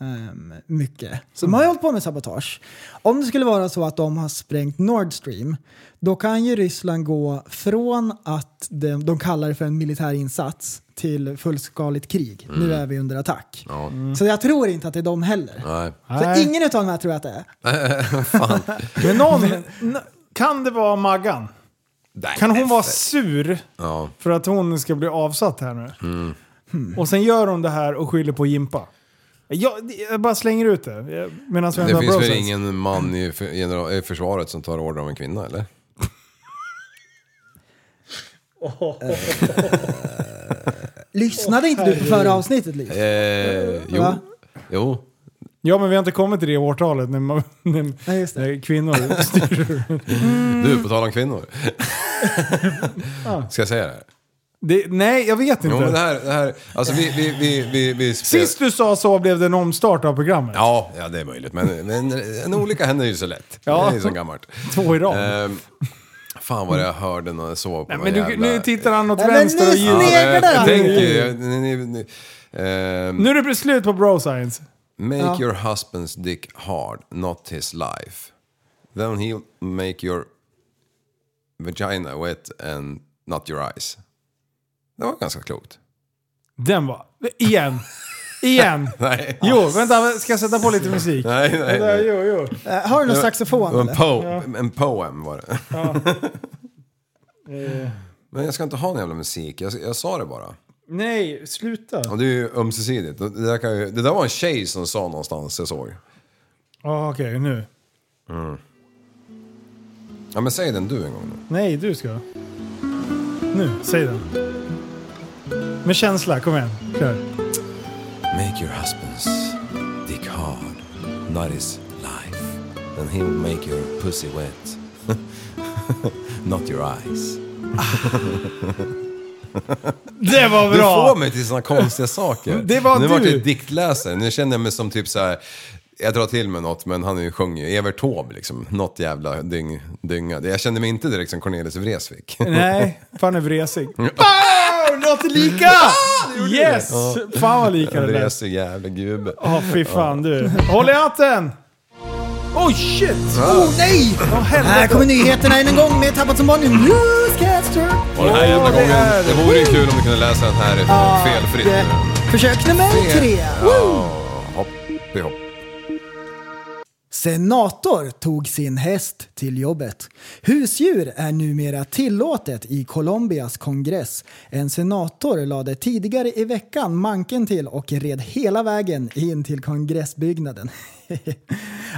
ehm, mycket. Så de har ju hållit på med sabotage. Om det skulle vara så att de har sprängt Nord Stream, då kan ju Ryssland gå från att de, de kallar det för en militär insats till fullskaligt krig. Nu Mm. är vi under attack. Så jag tror inte att det är de heller. Nej. Så Nej. ingen utav de här tror jag att det är. Men någon, n- kan det vara Maggan? Kan hon vara sur Ja. Mm. för att hon ska bli avsatt här nu? Hmm. Och sen gör hon det här och skyller på Jimpa. Jag, jag bara slänger ut det. Medan vi ändå Det har finns väl brosens. ingen man i, för- general, i försvaret som tar order av en kvinna, eller? Lyssnade inte du på förra avsnittet Liv? Eh, jo. Va? Jo. Ja, men vi har inte kommit till det årtalet när, man, [laughs] när, Nej, just det. när kvinnor [laughs] styr. Mm. Du, på tal [laughs] om kvinnor. Ska jag säga det här? Det, nej, jag vet inte. Jo, men det här... Det här alltså vi... vi, vi, vi, vi spel- Sist du sa så blev det en omstart av programmet. Ja, ja, det är möjligt. Men, men en olycka händer ju så lätt. Ja. Det är ju så gammalt. Två i rad. Ehm, fan vad jag hörde när jag såg nej, på någon men du, jävla... Nu tittar han åt Ja, men vänster och nu ljud. sneglar Ja, jag, jag han. tänker ju- ni- ni- ni- ehm, Nu är det slut på bro science. Make your husband's dick hard, not his life. Then he'll make your vagina wet and not your eyes. Det var ganska klokt. [laughs] Den var... Igen. [laughs] Igen. Nej. Jo, vänta. Ska jag sätta på lite musik? Nej, nej. Vänta, nej. jo, jo. Eh, Har du någon saxofon Det var eller? En, po en poem var det. [laughs] Men jag ska inte ha någon jävla musik, jag, jag sa det bara. Nej, sluta. Och det är ju ömsesidigt. Och Det där, kan ju, det där var en tjej som sa någonstans, jag såg. Ah, Okej, nu. Ja men säg den du en gång nu. Nej, du ska. Nu, säg den. Med känsla, kom igen. Kör. Make your husband's dick hard, not his life. Then he will make your pussy wet, [laughs] not your eyes. Det var Du bra! får mig till såna konstiga saker. [laughs] Det var nu vart du. jag diktläsare, nu känner jag mig som typ så här. Jag drar till med något, men han är ju- sjöng ju Evert Taube liksom. Något jävla dyng, dynga. Jag kände mig inte direkt som Cornelis Vreeswijk. Nej, fan är vresig. Wow, låter lika! Yes! Fan vad lika det lät. Vreesig jävla gubbe. Ja, fy fan du. Håll i hatten! Oh shit! Oh nej! här kommer nyheterna än en gång med Tappat som barn i Eh, Newscaster! Och den här jävla Ja, det är gången, det. det vore ju kul om du kunde läsa den här felfritt. Det- Försök nummer tre. Ja, hopp, hopp. Senator tog sin häst till jobbet. Husdjur är numera tillåtet i Colombias kongress. En senator lade tidigare i veckan manken till och red hela vägen in till kongressbyggnaden. [laughs]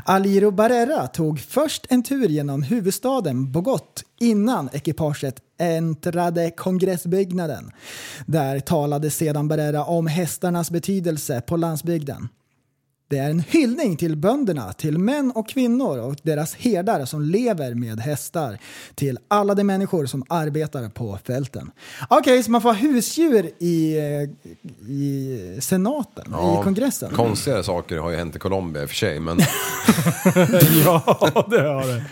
Aliro Barrera tog först en tur genom huvudstaden Bogot innan ekipaget entrade kongressbyggnaden. Där talade sedan Barrera om hästarnas betydelse på landsbygden. Det är en hyllning till bönderna, till män och kvinnor och deras herdar som lever med hästar. Till alla de människor som arbetar på fälten. Okej, så man får ha husdjur i, eh, i senaten, i kongressen? Konstiga saker har ju hänt i Colombia i och för sig, men, [laughs] ja, det har det.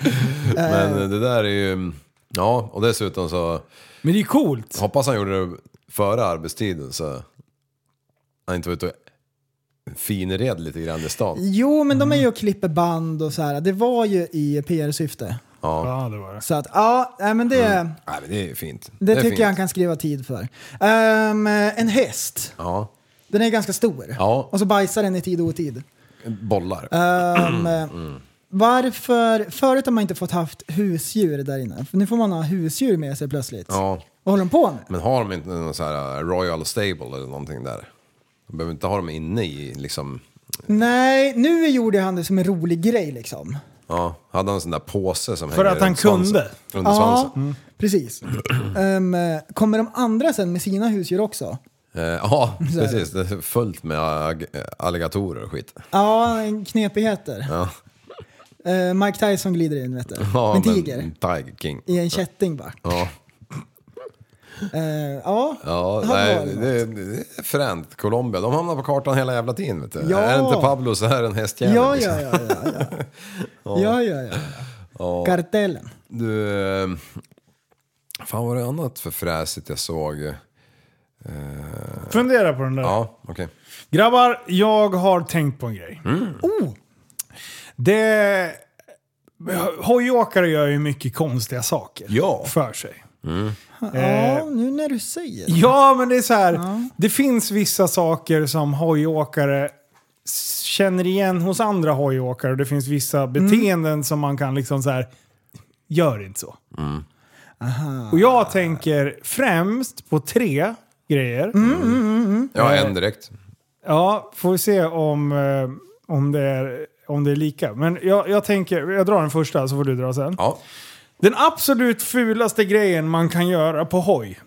men det där är ju... Ja, och dessutom så... Men det är coolt. Hoppas han gjorde det före arbetstiden så han inte var ute och finred lite grann i stan. Jo, men Mm. de är ju och klipper band och så här. Det var ju i PR-syfte. Ja. Ja, det var det. Så att, ja, nej, men det... Nej, men Mm. det är fint. Det, är tycker fint. jag han kan skriva tid för. Ehm, en häst, Ja. den är ganska stor. Ja. Och så bajsar den i tid och otid. Bollar. Ehm, Mm. Varför, förut har man inte fått haft husdjur där inne. Nu får man ha husdjur med sig plötsligt. Ja. Vad håller de på med? Men har de inte någon så här eh, Royal Stable eller någonting där? De behöver inte ha dem inne i liksom... Nej, nu gjorde han det som en rolig grej liksom. Ja, hade han en sån där påse som För hänger att han runt svansen, kunde. Under svansen. precis. Ehm, kommer de andra sen med sina husdjur också? [laughs] Eh, Ja, precis. Det är fullt med ag- alligatorer och skit. Ja, knepigheter. Ja. Eh, Mike Tyson glider in vet du. Ja, en tiger. Tiger King. I en kätting bara. Ja, Eh, ja, [laughs] ja det hade nej, varit det, det är fränt. Colombia, de hamnar på kartan hela jävla tiden. Vet du. Ja. Är det inte Pablo så är det en hästjävel. Ja, liksom. ja, ja. ja, [laughs] ja. ja, ja, ja. Kartellen. Du, eh, fan var det annat för fräsigt jag såg? Eh, Fundera på den där. Ja, okej. Grabbar, jag har tänkt på en grej. Oh, Det... Hojåkare gör ju mycket konstiga saker Ja. för sig. ja, nu när du säger det. Ja, men det är så här. Det finns vissa saker som hojåkare s- känner igen hos andra hojåkare. Det finns vissa beteenden som man kan liksom så här. Gör inte så. Och jag tänker främst på tre grejer. Ja, Eh. en direkt. Ja, får vi se om, eh, om, det, är, om det är lika. Men jag, jag tänker, jag drar den första så får du dra sen. Ja. Den absolut fulaste grejen man kan göra på hoj.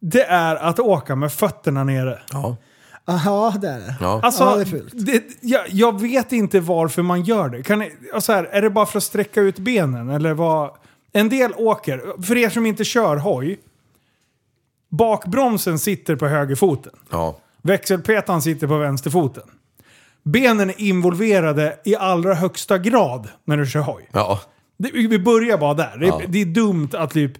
Det är att åka med fötterna nere. Ja. Aha, det är det. Ja. Alltså, Ja, det är fult. det- jag, jag vet inte varför man gör det. Kan, ni- ja, så här, är det bara för att sträcka ut benen? Eller vad? En del åker, för er som inte kör hoj, bakbromsen sitter på högerfoten. ja. Växelpetan sitter på vänsterfoten. Benen är involverade i allra högsta grad när du kör hoj. Ja. Det, vi börjar bara där. Det, är- Ja. det är dumt att typ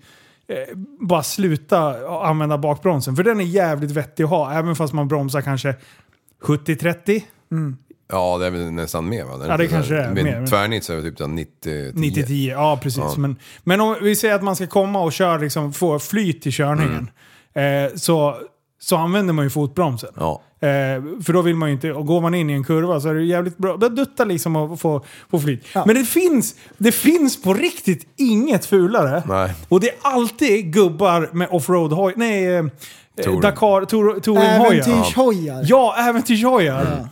eh, bara sluta använda bakbromsen. För den är jävligt vettig att ha, även fast man bromsar kanske 70-30. Ja, det är väl nästan mer va? Den Ja, det typen där- kanske det är, Med mer. tvärnit så är det typ där 90 10. 90-10, ja precis. Men, men om vi säger att man ska komma och köra, liksom, få flyt i körningen. Eh, så, så använder man ju fotbromsen. Ja. Eh, för då vill man ju inte, och går man in i en kurva så är det jävligt bra. Då duttar liksom och få, få flyt. Men det finns, det finns på riktigt inget fulare. Nej. Och det är alltid gubbar med offroad hoj, nej, eh, Touring. Dakar, Tor- touringhojar. Äventyrshojar. Ja, äventyrshojar.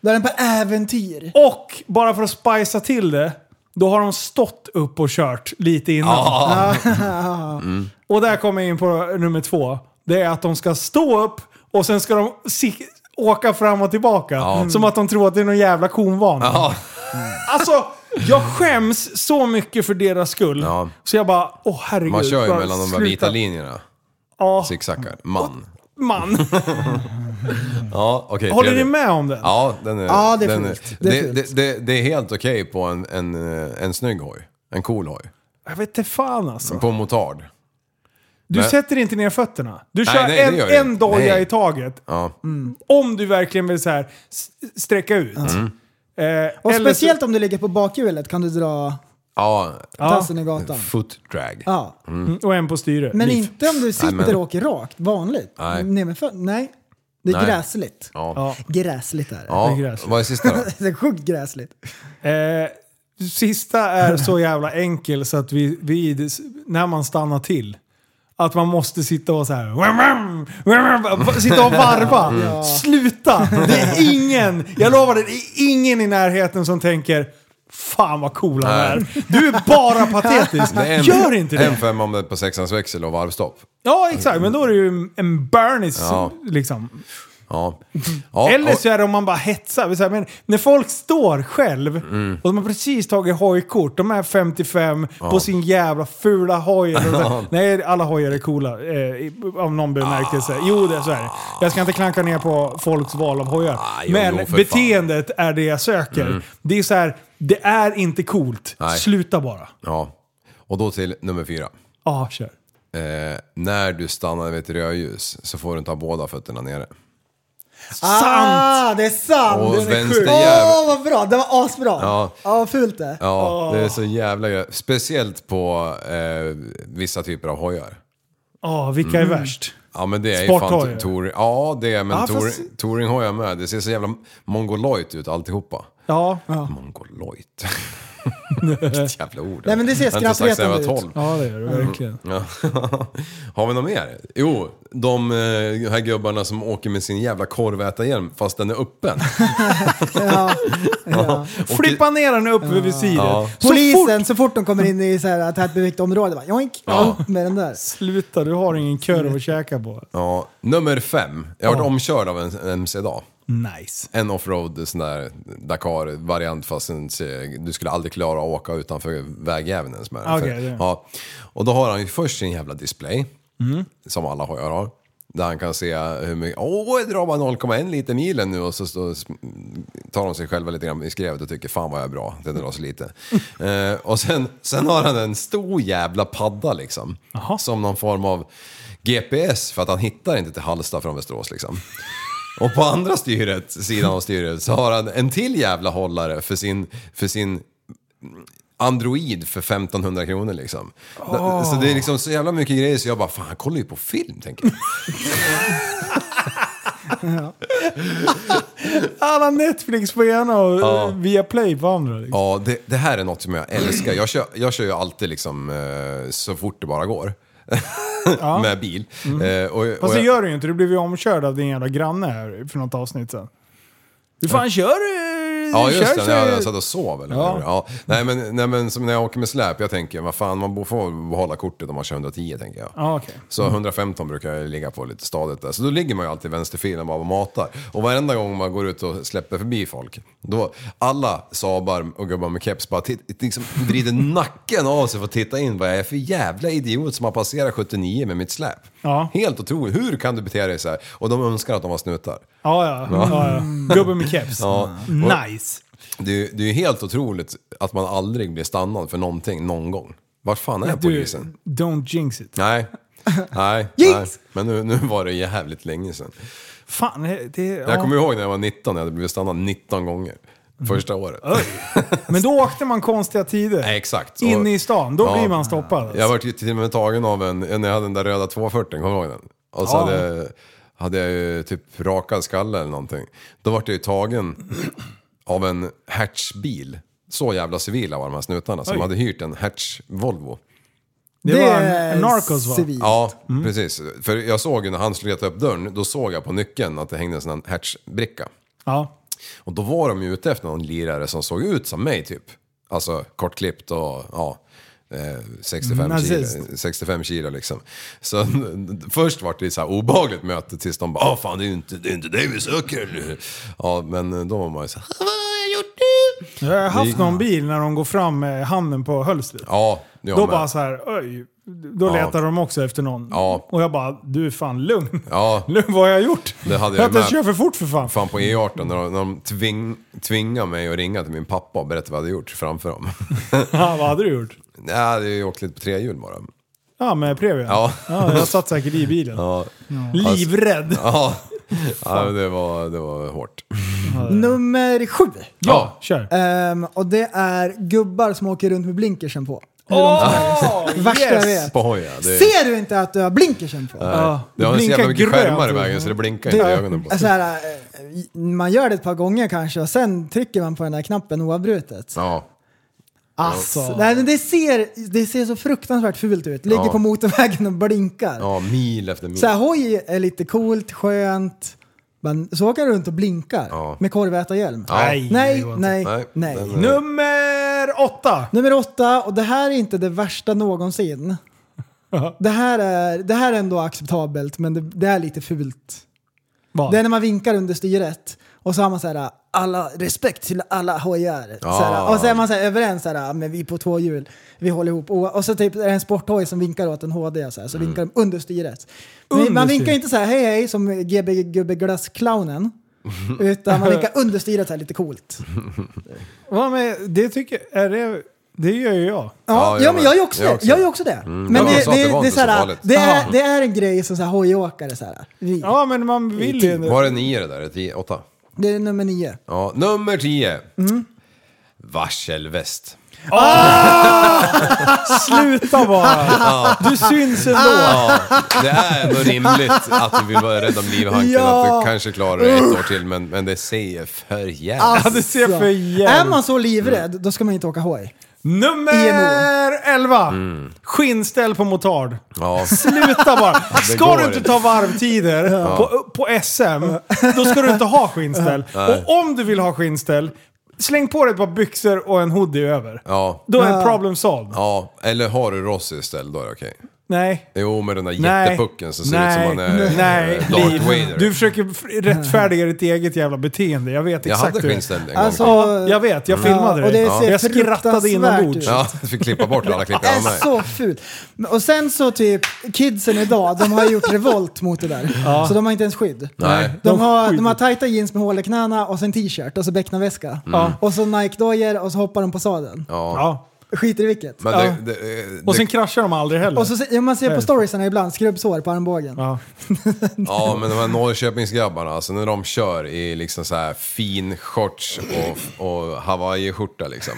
Då är den på äventyr. Och bara för att spicea till det, då har de stått upp och kört lite innan. [laughs] Mm. Mm. Och där kommer jag in på nummer två. Det är att de ska stå upp och sen ska de si- åka fram och tillbaka. Som att de tror att det är någon jävla konvan. Ja. Alltså, jag skäms så mycket för deras skull. Ja. Så jag bara, åh herregud. Man kör ju bara mellan de där sluta. vita linjerna. Ja, Zigzaggar. Man. [laughs] man. Ja, okej. Håller ni tredje. med om den? Ja, den är, Ja, det är den fult. Det är det, fult. det, det, det är helt okej på en, en, eh, en snygg hoj. En cool hoj. Jag vet inte fan alltså. På en motard. Du Nej. sätter inte ner fötterna. Du Nej, kör nej, det gör en, jag en inte. doja Nej. i taget. Mm. Ja. Om du verkligen vill så här s- sträcka ut. Mm. Eh, Och eller speciellt om du ligger på bakhjulet kan du dra Ja, tassen i gatan. foot drag. Ja. Mm. så, och en på styret. Men Liv. inte om du sitter men- och åker rakt, vanligt. Nej. Nej. men för, nej. Det är Nej. gräsligt. Ja. Gräsligt är det. Ja, vad är sista då? [laughs] det är sjukt gräsligt. Eh, sista är så jävla enkel så att vi, vi, när man stannar till, att man måste sitta och så här, "Wam, wam, wam, wam", sitta och varva. [laughs] Ja. Sluta! Det är ingen, jag lovar det, det är ingen i närheten som tänker Fan vad cool han Nej. är. Du är [laughs] bara patetisk. Det är en, Gör inte det. En femma om det är på sexans växel och varvstopp. Ja exakt, men då är det ju en Bernies Ja. liksom. Ja. [laughs] ja Eller och- så är det om man bara hetsar. Så här, men när folk står själv Mm. och de har precis tagit hojkort, de är 55 på sin jävla fula [laughs] hoj. eller så här. Nej, alla hojar är coola eh, i- av någon bemärkelse. Ah. Jo, det är så är det. Jag ska inte klanka ner på folks val av hojar. Ah, jo, men jo, för Mm. beteendet är det jag söker. Det är så här, det är inte coolt. Nej. Sluta bara. Ja. Och då till nummer fyra. Ja, kör. Eh, när du stannar vid ett rödljus så får du inte ha båda fötterna nere. Ah, det är sant! Och Den är sjuk. vänsterjävel. Åh, vad bra! Det var asbra! Ja. Ja, fult det. Ja, det är så jävla gö- Speciellt på eh, vissa typer av hojar. Ja, vilka Mm. är värst? Ja men det är ju Sporthojar. fan touring. Ja det är men Ja, ja, fast- touringhojar med. Det ser så jävla mongoloidt ut alltihopa. Ja. Mongoloidt. [laughs] Vilket jävla ord. Nej, men det ser Jag har inte sagt sedan jag var skrattretande 12. ut. Ja, det är det verkligen. Ja. [laughs] Har vi något mer? Jo, de eh, här gubbarna som åker med sin jävla korvätarhjälm fast den är [laughs] öppen. [laughs] ja. Och- Flippa ner den upp vid visiret. Ja. Så fort Polisen, så fort de kommer in i så här tätbebyggt område, bara joink, Ja. upp med den där. Sluta, du har ingen korv att käka på. Ja, nummer fem. Jag har varit omkörd av en MC idag. Nice. En offroad sån där Dakar-variant fast en, du skulle aldrig klara att åka utanför vägjäveln ens med den. Okej, För- det- ja. Och då har han ju först sin jävla display, som alla hojar har. Där han kan se hur mycket, åh, jag drar bara 0,1 liter milen nu och så, så tar de sig själva lite grann i skrevet och tycker fan vad jag är bra, det drar [laughs] så lite. eh, och sen, sen har han en stor jävla padda liksom. Som någon form av GPS för att han hittar inte till Hallsta från Västerås liksom. Och på andra styret, sidan av styret så har han en till jävla hållare för sin, för sin Android för 1500 kronor liksom. Så det är liksom så jävla mycket grejer så jag bara, fan han kollar ju på film tänker jag. Alla Netflix på ena och ja. via Play eh, på andra. Liksom. Ja, det, det här är något som jag älskar. Jag kör, jag kör ju alltid liksom eh, så fort det bara går. [laughs] Med bil. Eh, och, och Mm. Fast det jag- gör du ju inte, du blev ju omkörd av din jävla granne här för något avsnitt sen. Du fan kör du? Ja kör, just det, så- jag, jag satt och sov eller Ja. ja. ja. Nej men, nej men som när jag åker med släp, jag tänker vad fan man får behålla kortet om man kör 110 tänker jag. Ja, okej. Så 115 brukar jag ligga på lite stadigt där. Så då ligger man ju alltid i vänsterfilen och bara matar. Och varenda gång man går ut och släpper förbi folk, då alla sabar och gubbar med keps bara titt, liksom [laughs] vrider nacken av sig för att titta in vad jag är för jävla idiot som har passerat 79 med mitt släp. Ja. Helt otroligt, hur kan du bete dig så här? Och de önskar att de har snutar. Ja, ja. ja, ja. Gubben med keps. Ja. Nice. Det, är- det är ju helt otroligt att man aldrig blir stannad för någonting någon gång. Vart fan är Du, polisen? don't jinx it. Nej. [laughs] Nej, nej. Jinx! Men nu, nu var det jävligt länge sedan. Fan, det... det Jag ja. kommer ihåg när jag var 19, jag hade blivit stannad 19 gånger. Första året. Men då åkte man konstiga tider. [laughs] Nej, exakt. Och- Inne i stan, då Ja. blir man stoppad. alltså. Jag vart ju till och med tagen av en, när jag hade den där röda 240, kommer du ihåg den? Och så Ja. hade, jag- hade jag ju typ rakad skalle eller någonting. Då vart jag ju tagen [clears throat] av en Hertzbil. Så jävla civila var de här snutarna som Oj. hade hyrt en Hertz Volvo. Det, var en, en Narcos va? civilt. Ja, Mm. precis. För jag såg ju när han slet upp dörren, då såg jag på nyckeln att det hängde en sån här hertzbricka. Ja. Och då var de ju ute efter någon lirare som såg ut som mig typ. Alltså kortklippt och ja, eh, 65 Mm, Nazist. kilo, 65 kilo liksom. Så [laughs] först var det så här obehagligt möte tills de bara "Ah, fan det är ju inte, det är inte dig vi söker eller hur?" Ja, men eh, då var man ju så här, "Vad har jag gjort nu?" Jag har haft Det- någon bil när de går fram med handen på hölstret. Ja, jag Då med. bara så här, oj. Då Ja. letar de också efter någon. Ja. Och jag bara, du är fan lugn. Ja. Lugn, vad har jag gjort? Det hade jag jag har inte kört med. för fort för fan. Fan på E18 när de, när de tving, tvingade mig att ringa till min pappa och berätta vad jag hade gjort framför dem. [laughs] Ja, vad hade du gjort? Nej, jag hade ju åkt lite på trehjul bara. Ja, med Previa. Ja. ja. Jag satt säkert i bilen. Ja, alltså. Livrädd. ja. ja men det, var, det var hårt. Nummer sju. Ja, kör. Ehm, och det är gubbar som åker runt med blinkersen på. hur de Åh, ser ut. Värsta jag yes! vet. Spoja, det- Ser du inte att du har blinkersen på? Nej. Ja, Det har det så jävla blinkar mycket grönt. skärmar i vägen så det blinkar Det- inte i ögonen [laughs] på Så Alltså här, eh, man gör det ett par gånger kanske och sen trycker man på den där knappen oavbrutet. Ja. Alltså. Nej, men det, ser, det ser så fruktansvärt fult ut. Ligger Ja. på motorvägen och blinkar. ja, mil efter mil. Så här, hoj är lite coolt, skönt. Men så åker du runt och blinkar Ja. med korvätarhjälm. Ja. Nej, nej, det går inte. nej, Nej, nej. den är- Nummer åtta! Nummer åtta, och det här är inte det [laughs] värsta någonsin. Det här är, det här är ändå acceptabelt, men det, det är lite fult. Vad? Det är när man vinkar under styret och så har man så här, alla, respekt till alla hojar. Så här, Ah. och så är man så här, överens, så här, men vi är på två hjul, vi håller ihop. Och, och så typ är det en sporthoj som vinkar åt en HD, så, här, så vinkar de under styret. Men Under man vinkar styret. inte så här hej hej som GB Gubbe Glass-clownen. Utan man vinkar under styret så här lite coolt. Vad med, det tycker är det, det gör ju jag. Ja, Ja, jag ja, men med. jag gör också Jag det. också. Jag gör också det. Ja, Men de det, sa det, att det var det, är inte så så här, farligt. det, Ja. är, det är en grej som så här, hojåkare. Så här, vi. Ja, men man vill ju Var det typ- nio det där? Ett Tio, åtta? Det är nummer nio. Ja, nummer tio. Mm. Varselväst. Sluta [laughs] bara! Du syns ändå! Ja, det är ändå rimligt att du vill vara rädd om livhanken. Ja. Att du kanske klarar det ett år till, men, men det säger för jävligt. Ja, det ser Så. för jävligt Alltså, Är man så livrädd, då ska man inte åka hoj. Nummer 11! Mm. Skinnställ på motard. Ja. Sluta [laughs] bara! Ska går du inte inte. ta varvtider på, på SM, då ska du inte ha skinnställ. Och om du vill ha skinnställ, släng på dig ett par byxor och en hoodie över. Ja. Då är problem solved. ja, eller har du Ross istället, då är det okej. Nej. Jo, med den där Nej. jättepucken som ser ut Nej. som man är eh, Nej. Darth Liv. Vader. Du försöker f- rättfärdiga ditt eget jävla beteende. Jag vet jag exakt hade hur det är. skinnställ en Alltså, gång. Ja, jag vet. Jag filmade Ja, och det. det ser Jag skrattade fruktansvärt inombords. ut. Ja, du fick klippa bort alla klipp Det av mig. är så fult. Men- Och sen så typ, kidsen idag, de har gjort revolt mot det där. Så de har inte ens skydd. Nej. De De har, skiter. de har tajta jeans med hål i knäna och sen t-shirt och så becknarväska. Ja. Och så Nike-dojor och så hoppar de på sadeln. Mm. Ja. Ja. Skiter i vilket. Men Ja. det, det, det, Och sen kraschar de aldrig heller. Och så se- ja, man ser på storiesarna ibland, skrubbsår på armbågen. ja. Ja, men de här Norrköpingsgrabbarna, alltså när de kör i liksom så här fin shorts och, och hawaiiskjorta liksom.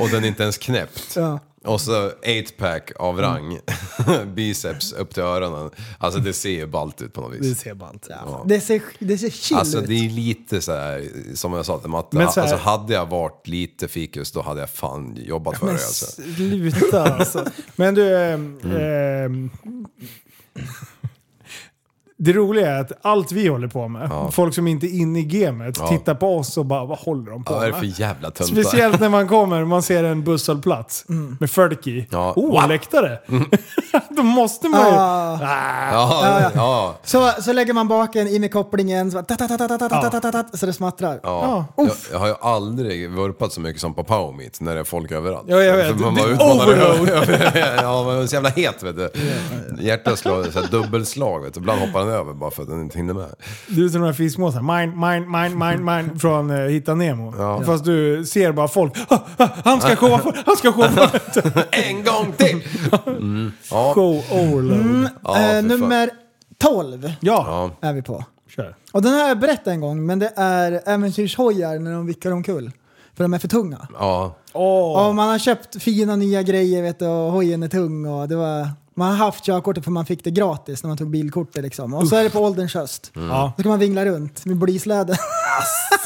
Och den är inte ens knäppt. Ja. Och så 8-pack av rang, [laughs] biceps upp till öronen. Alltså det ser ju ballt ut på något Det vis. ser ballt ut. Det ser, det ser chill Alltså ut. det är lite så här, som jag sa till Matte, Men så här- alltså hade jag varit lite fikus då hade jag fan jobbat för det alltså. Sluta alltså. Men du... ehm, Mm. ehm, det roliga är att allt vi håller på med, folk som inte är inne i gamet, Ja. tittar på oss och bara vad håller de på Vad är det med? för jävla töntar? Speciellt när man kommer och man ser en busshållplats Mm. med folk i. Ja. Mm. Oh, läktare! [laughs] Då måste man ju... Ah. Ja, ja. ja. Så, så lägger man baken i med kopplingen så, bara ta- ta- ta- ta- ta- ta- ta- ta- ta- så det smattrar. Ja. Jag, jag har ju aldrig vurpat så mycket som på Power Meet när det är folk överallt. Ja, jag vet. För Man Det är var utmanad. overload. [laughs] ja, man var så jävla het vet du. Hjärtat slår så här dubbelslag vet du. Ibland hoppar den över bara för att den inte hinner med. Du är som de här fiskmåsarna. Mine, mine, mine, mine, [laughs] mine från eh, Hitta Nemo. Fast du ser bara folk. "Ah, ah, Han ska showa för- Han ska showa för-" En gång [laughs] till! [laughs] Ja. Mm, Show overload. Ja, för eh, fan. nummer 12 Ja, Ja. är vi på. Ah, kör. Och den här har jag berättat en gång, men det är äventyrshojar när de vickar omkull. För de är för tunga. Ja. Och man har köpt fina nya grejer vet du, och hojen är tung. Och det var, man har haft körkortet för man fick det gratis när man tog bilkortet. Liksom. Och så är det på ålderns höst. Ja. Då ska man vingla runt med blysläde. [laughs]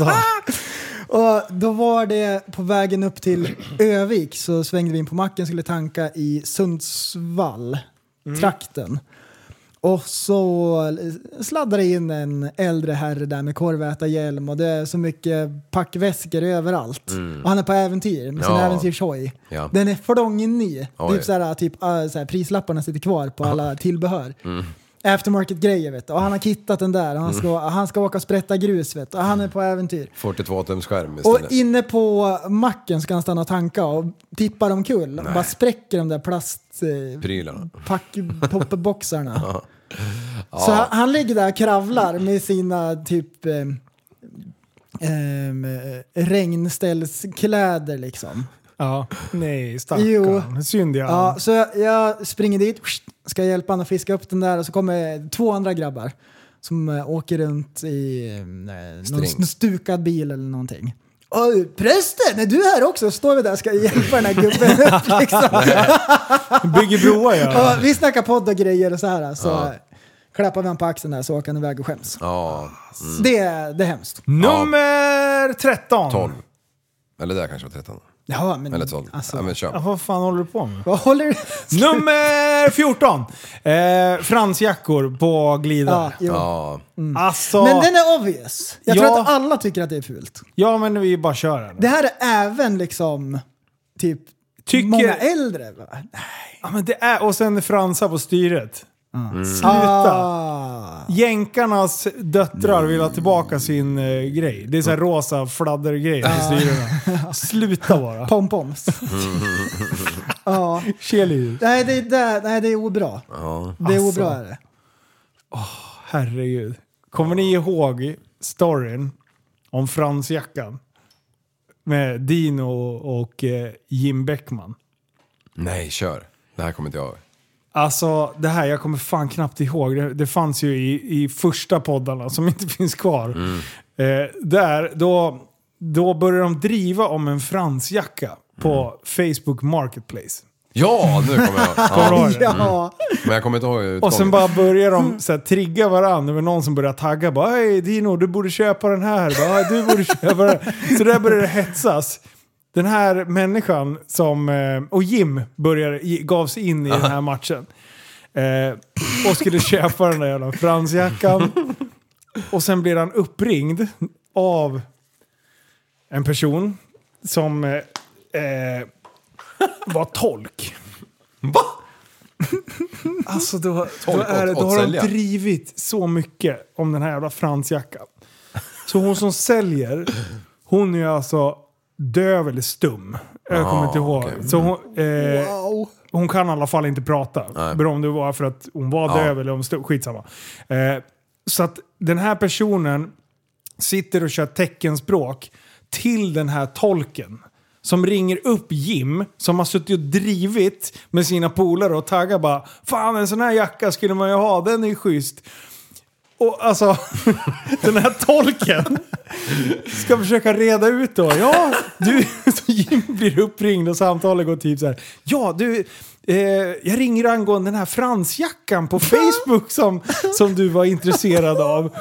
och då var det på vägen upp till Övik så svängde vi in på macken och skulle tanka i Sundsvall, Mm. trakten. Och så sladdar det in en äldre herre där med korvätarhjälm och det är så mycket packväskor överallt. Och han är på äventyr med sin Mm. Ja. äventyrshoj. Ja. Den är förlångny. Oj. Typ såhär, typ, äh, såhär, prislapparna sitter kvar på alla tillbehör. Mm. Aftermarket-grejer vet du. Och han har kittat den där. Och han, ska, Mm. han ska åka och sprätta grus vet du. Och han är på äventyr. 42 tums skärm Och istället. inne på macken ska han stanna och tanka och tippar omkull. Och bara spräcker de där plast... Eh, Prylarna. packpopperboxarna. Så han, han ligger där och kravlar med sina typ eh, ehm, eh, regnställskläder liksom. Ja. Nej, Jo. Ah. stackarn. Synd jag. Ja, så jag, jag springer dit, ska hjälpa honom att fiska upp den där och så kommer två andra grabbar som eh, åker runt i eh, någon String. stukad bil eller någonting. Oj, prästen, är du här också? Står vi där och ska hjälpa den här gubben upp liksom. Bygger broar [laughs] ja. Och vi snackar podd och grejer och så här. Så klappar vi honom på axeln där så åker han iväg och skäms. Ja. Mm. Det, är- det är hemskt. Nummer 13. 12. Eller det där kanske var 13. Ja, men, Eller 12. Alltså, ja, men Ja, kör. vad fan håller du på med? vad håller du? Nummer 14. Eh, Fransjackor på glidare. Ja, jo. Ja. Alltså, Men den är obvious. Jag tror Ja. att alla tycker att det är fult. ja men vi bara kör den. Det här är även liksom typ Tycker- många Eh. äldre. Va? Ja, men det är, och sen fransa på styret. Sluta! Ah. Jänkarnas döttrar vill ha tillbaka sin eh, grej. Det är så här rosa fladdergrej på [laughs] styrena. Sluta bara. Pompoms. ja. Cheerleader. Nej, det är, där, nej, det är obra. Det är Alltså. obra är det. Herregud. Kommer ni ihåg storyn om fransjackan? Med Dino och eh, Jim Beckman. Nej, kör. Det här kommer inte jag ihåg. Alltså det här, jag kommer fan knappt ihåg. Det, det fanns ju i, i första poddarna som inte [laughs] finns kvar. Mm. Eh, där, då, då började de driva om en fransjacka på Facebook Marketplace. Ja, nu kommer jag Kommer ihåg. du Mm. Ja. ihåg det? Ja. Men jag kommer inte ihåg Och sen utgången. bara börjar de så här, trigga varandra. Det var någon som började tagga. Bara, Hej Dino, du borde köpa den här. Bara, "Hej, du borde köpa den här. Så där började det hetsas. Den här människan som... eh, Och Jim började, gav sig in i den här matchen. Eh, och skulle köpa den där jävla fransjackan. Och sen blir han uppringd av en person som eh, eh, var tolk. Va? Alltså då, då, Tolk är det, åt- då åt har de sälja. drivit så mycket om den här jävla fransjackan. Så hon som säljer, hon är alltså döv eller stum. Jag kommer inte ihåg. Ah, okej. Så hon, eh, Wow. hon kan i alla fall inte prata. Beroende om det var för att hon var döv eller om stod, skitsamma. Eh, så att den här personen sitter och kör teckenspråk till den här tolken. Som ringer upp Jim, som har suttit och drivit med sina polare och taggar bara Fan en sån här jacka skulle man ju ha, den är ju schysst. Och alltså, [laughs] den här tolken ska försöka reda ut då. Ja, du, [laughs] så Jim blir uppringd och samtalet går typ så här. Ja, du, eh, jag ringer angående den här fransjackan på Facebook som, som du var intresserad av.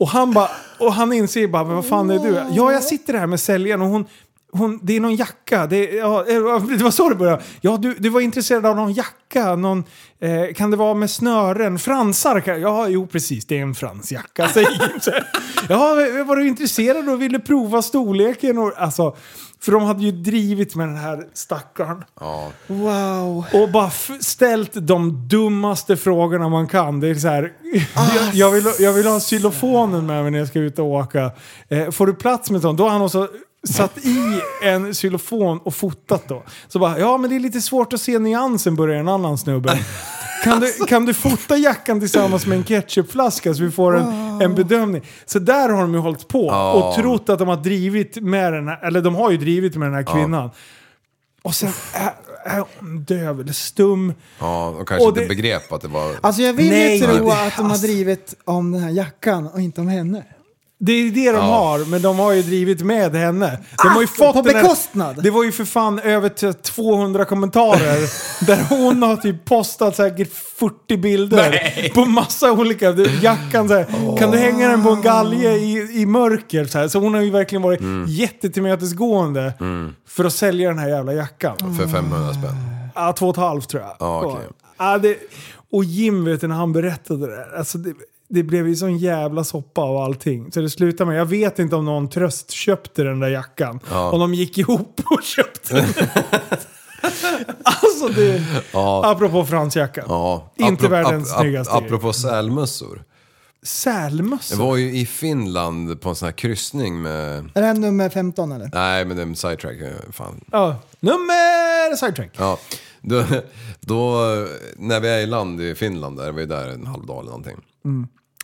Och han bara, och han inser bara, men vad fan är du? Ja, jag sitter här med säljaren och hon, hon, det är någon jacka. Det, är- ja, eh, det var så det började. Ja, du, du var intresserad av någon jacka. Någon, eh, kan det vara med snören? Fransar? kan- Ja, jo precis. Det är en fransjacka, [laughs] säger Jim så här. Ja, eh, var du intresserad och ville prova storleken? Och, alltså, för de hade ju drivit med den här stackaren. Mm. Wow. Och bara f- ställt de dummaste frågorna man kan. Det är så här, [laughs] jag, jag, vill, jag vill ha xylofonen med mig när jag ska ut och åka. Eh, får du plats med sån? Då har han också satt i en xylofon och fotat då. Så bara, ja men det är lite svårt att se nyansen, börjar en annan snubbe. Kan du, kan du fota jackan tillsammans med en ketchupflaska så vi får en, en bedömning? Så där har de ju hållit på och trott att de har drivit med den här, eller de har ju drivit med den här kvinnan. Och sen är, är hon döv eller stum. Ja, och kanske Och det- inte begrep att det var... Alltså jag vill Nej, ju tro det- att de har alltså. drivit om den här jackan och inte om henne. Det är ju det de har, men de har ju drivit med henne. De har ju Ah, på fått den här- bekostnad. Det var ju för fan över till 200 [laughs] kommentarer där hon har typ postat säkert 40 bilder på massa olika. du, Jackan så här, kan du hänga den på en galge i, i mörker? Så, här. så hon har ju verkligen varit Mm. jättetillmötesgående för att sälja den här jävla jackan. För 500 spänn. Ja, två och ett halvt tror jag. Ja, okej. och, ja, det, och Jim vet du, när han berättade det där. Alltså det, det blev ju sån jävla soppa av allting. Så det slutade med, jag vet inte om någon tröst köpte den där jackan. Om de gick [laughs] ihop och köpte den. alltså det, apropå fransjackan. Ja. Inte Apro- världens ap- ap- snyggaste grej. Apropå sälmössor. Jag Sälmössa. var ju i Finland på en sån här kryssning med... Är det här nummer 15 eller? Nej, men det är en sidetrack. eh, Fan. Ja. Nummer sidetrack. Ja, då, då, när vi är i land i Finland där, vi är där en halv dag eller någonting.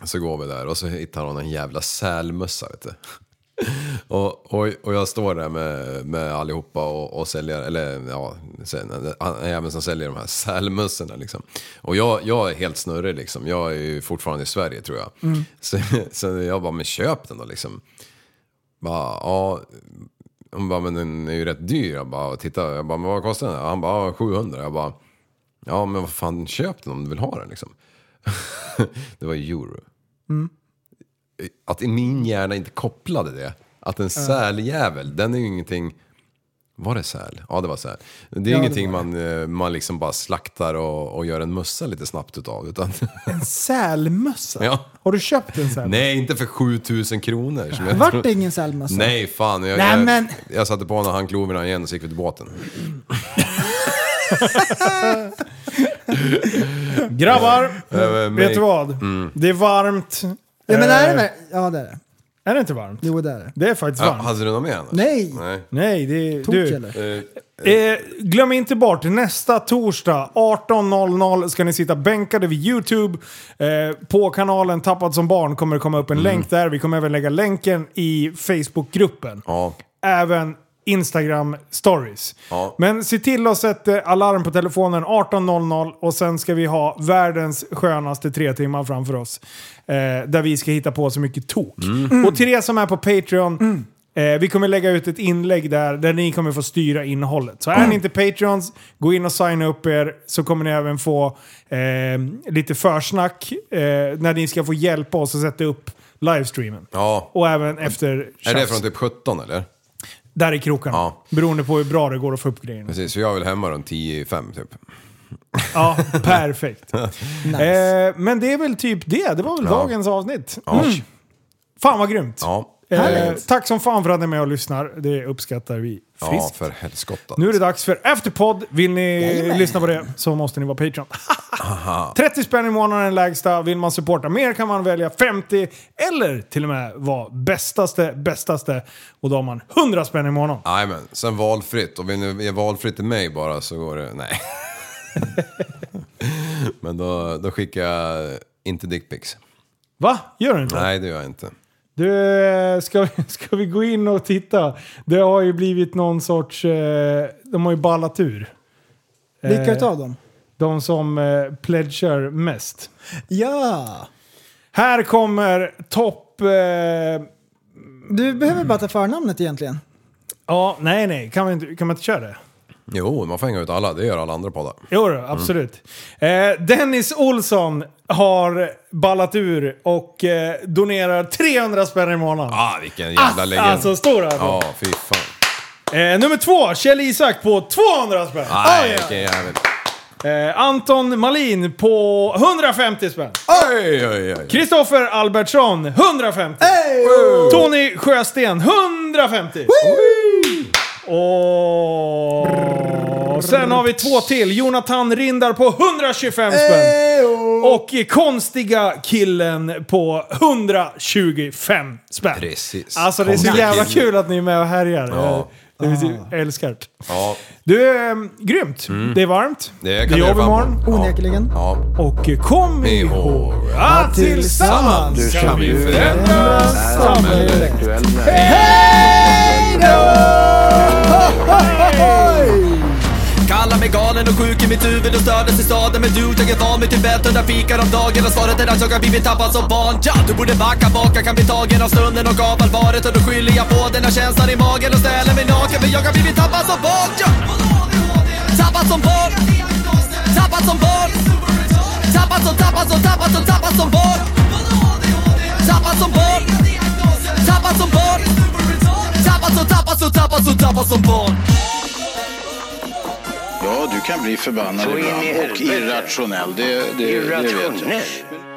Så går vi där och så hittar hon en jävla sälmössa vet du. [laughs] Och, och, och jag står där med, med allihopa och, och säljer, eller ja, sen- han- han är även som säljer de här sälmössorna liksom. Och jag, jag är helt snurrig liksom, jag är ju fortfarande i Sverige tror [laughs] jag. Så, så jag bara, men köp den då liksom. Bara, ja, Hon bara, men den är ju rätt dyr. Jag bara, titta. Jag bara, men vad kostar den? här? Han bara, ja, 700. Jag bara, ja men vad fan, köp den om du vill ha den liksom. [laughs] det var ju euro. Mm. Att i min hjärna inte kopplade det. Att en säljävel, den är ju ingenting... Var det säl? Ja, det var säl. Det är Ja, ingenting man, eh, man liksom bara slaktar och, och gör en mössa lite snabbt utav. [laughs] Utan, En sälmössa? ja. Har du köpt en sälmössa? Nej, inte för 7000 kronor. Som jag Vart tror- det ingen sälmössa? Nej, fan. Jag, Nej, jag, men- jag satte på när han kloverna igen och så gick vi till båten. Grabbar, Eh, vet mig- du vad? Det är varmt. Ja, men är det, Eh, ver- ja, det är det. är det inte varmt? Jo, det är det. Det är faktiskt Ja, varmt. hade du något mer annars? Nej! Nej. Nej, det är... Tok Du, eller? Eh, Eh, glöm inte bort, nästa torsdag 18.00 ska ni sitta bänkade vid YouTube. Eh, på kanalen Tappad som barn kommer det komma upp en länk där. Vi kommer även lägga länken i Facebookgruppen. ja. Även Instagram stories. Ja. Men se till att sätta alarm på telefonen 18.00 och sen ska vi ha världens skönaste tre timmar framför oss. Eh, där vi ska hitta på så mycket tok. Mm. Och till er som är på Patreon, eh, vi kommer lägga ut ett inlägg där, där ni kommer få styra innehållet. Så är ni inte Patreons, gå in och signa upp er så kommer ni även få eh, lite försnack eh, när ni ska få hjälpa oss att sätta upp livestreamen. ja. Och även efter... Är det tjafs. från typ 17 eller? Där i krokarna. Ja. Beroende på hur bra det går att få upp grejerna. Precis, för jag vill hemma runt 10 i 5 typ. Ja, [laughs] perfekt. eh, men det är väl typ det. Det var väl Ja. dagens avsnitt. Mm. Ja. Fan vad grymt. Mm. Ja. Eh, tack som fan för att ni är med och lyssnar. Det uppskattar vi ja, friskt. för helskotta. nu är det dags för Afterpod. Vill ni Jajamän. lyssna på det så måste ni vara Patreon. [laughs] 30 spänn i månaden är den lägsta. Vill man supporta mer kan man välja 50 eller till och med vara bästaste, bästaste. Och då har man 100 spänn i månaden. Nej men, sen valfritt. Och vill ni ge valfritt till mig bara så går det... [laughs] Nej. men då, då skickar jag inte dickpics. Va? Gör du inte? Nej, det gör jag inte. Du, eh, ska, vi- [laughs] ska vi gå in och titta? Det har ju blivit någon sorts... Eh, de har ju ballat ur. Vilka Eh, utav dem? De som eh, pledgar mest. Ja! Här kommer topp... Eh, Du behöver bara ta förnamnet egentligen. ja, nej, nej. Kan man, inte, kan man inte köra det? Jo, man får hänga ut alla. Det gör alla andra poddar. Jo, då, absolut. Eh, Dennis Olsson har ballat ur och eh, donerar 300 spänn i månaden. Ah, vilken jävla legend. alltså, stor alltså. Ja, fy fan. Eh, nummer två, Kjell Isak på 200 spänn. Oh, Nej, Oj, vilken jävel. Eh, Anton Malin på 150 spänn. Oj, oj, oj. Kristoffer Albertsson 150. Tony Sjösten 150. Och sen har vi två till. Jonathan Rindar på 125 spänn. Och konstiga killen på 125 spänn. Precis. Alltså det är så Konstiga jävla killen. kul att ni är med och härjar. Ja. Det är, jag älskar det. Ja, Du, eh, grymt. Det är varmt. Mm. det det kan är jag jobb fan på. imorgon. Onekligen. Ja. Och kom ihåg att tillsammans kan vi förändra samhället. Intellektuell näring. Kallar mig galen och sjuk i mitt huvud och stördes i staden Men du, jag är van vid Tibet och där fikar om dagen Och svaret är att jag har blivit tappad som barn ja, Du borde backa bak, jag kan bli tagen av stunden och av allvaret Och då skyller jag på den här känslan i magen och ställer mig naken För jag har blivit tappad som barn ja. Tappad som barn Tappad som barn Tappad som, tappad som, tappad som, tappad som barn Tappad som barn Tappad som barn Tappad som, tappad som, tappad som, tappad som barn Ja, du kan bli förbannad Så in i ibland och helvete. irrationell. Det, det, det vet jag. Irrationell.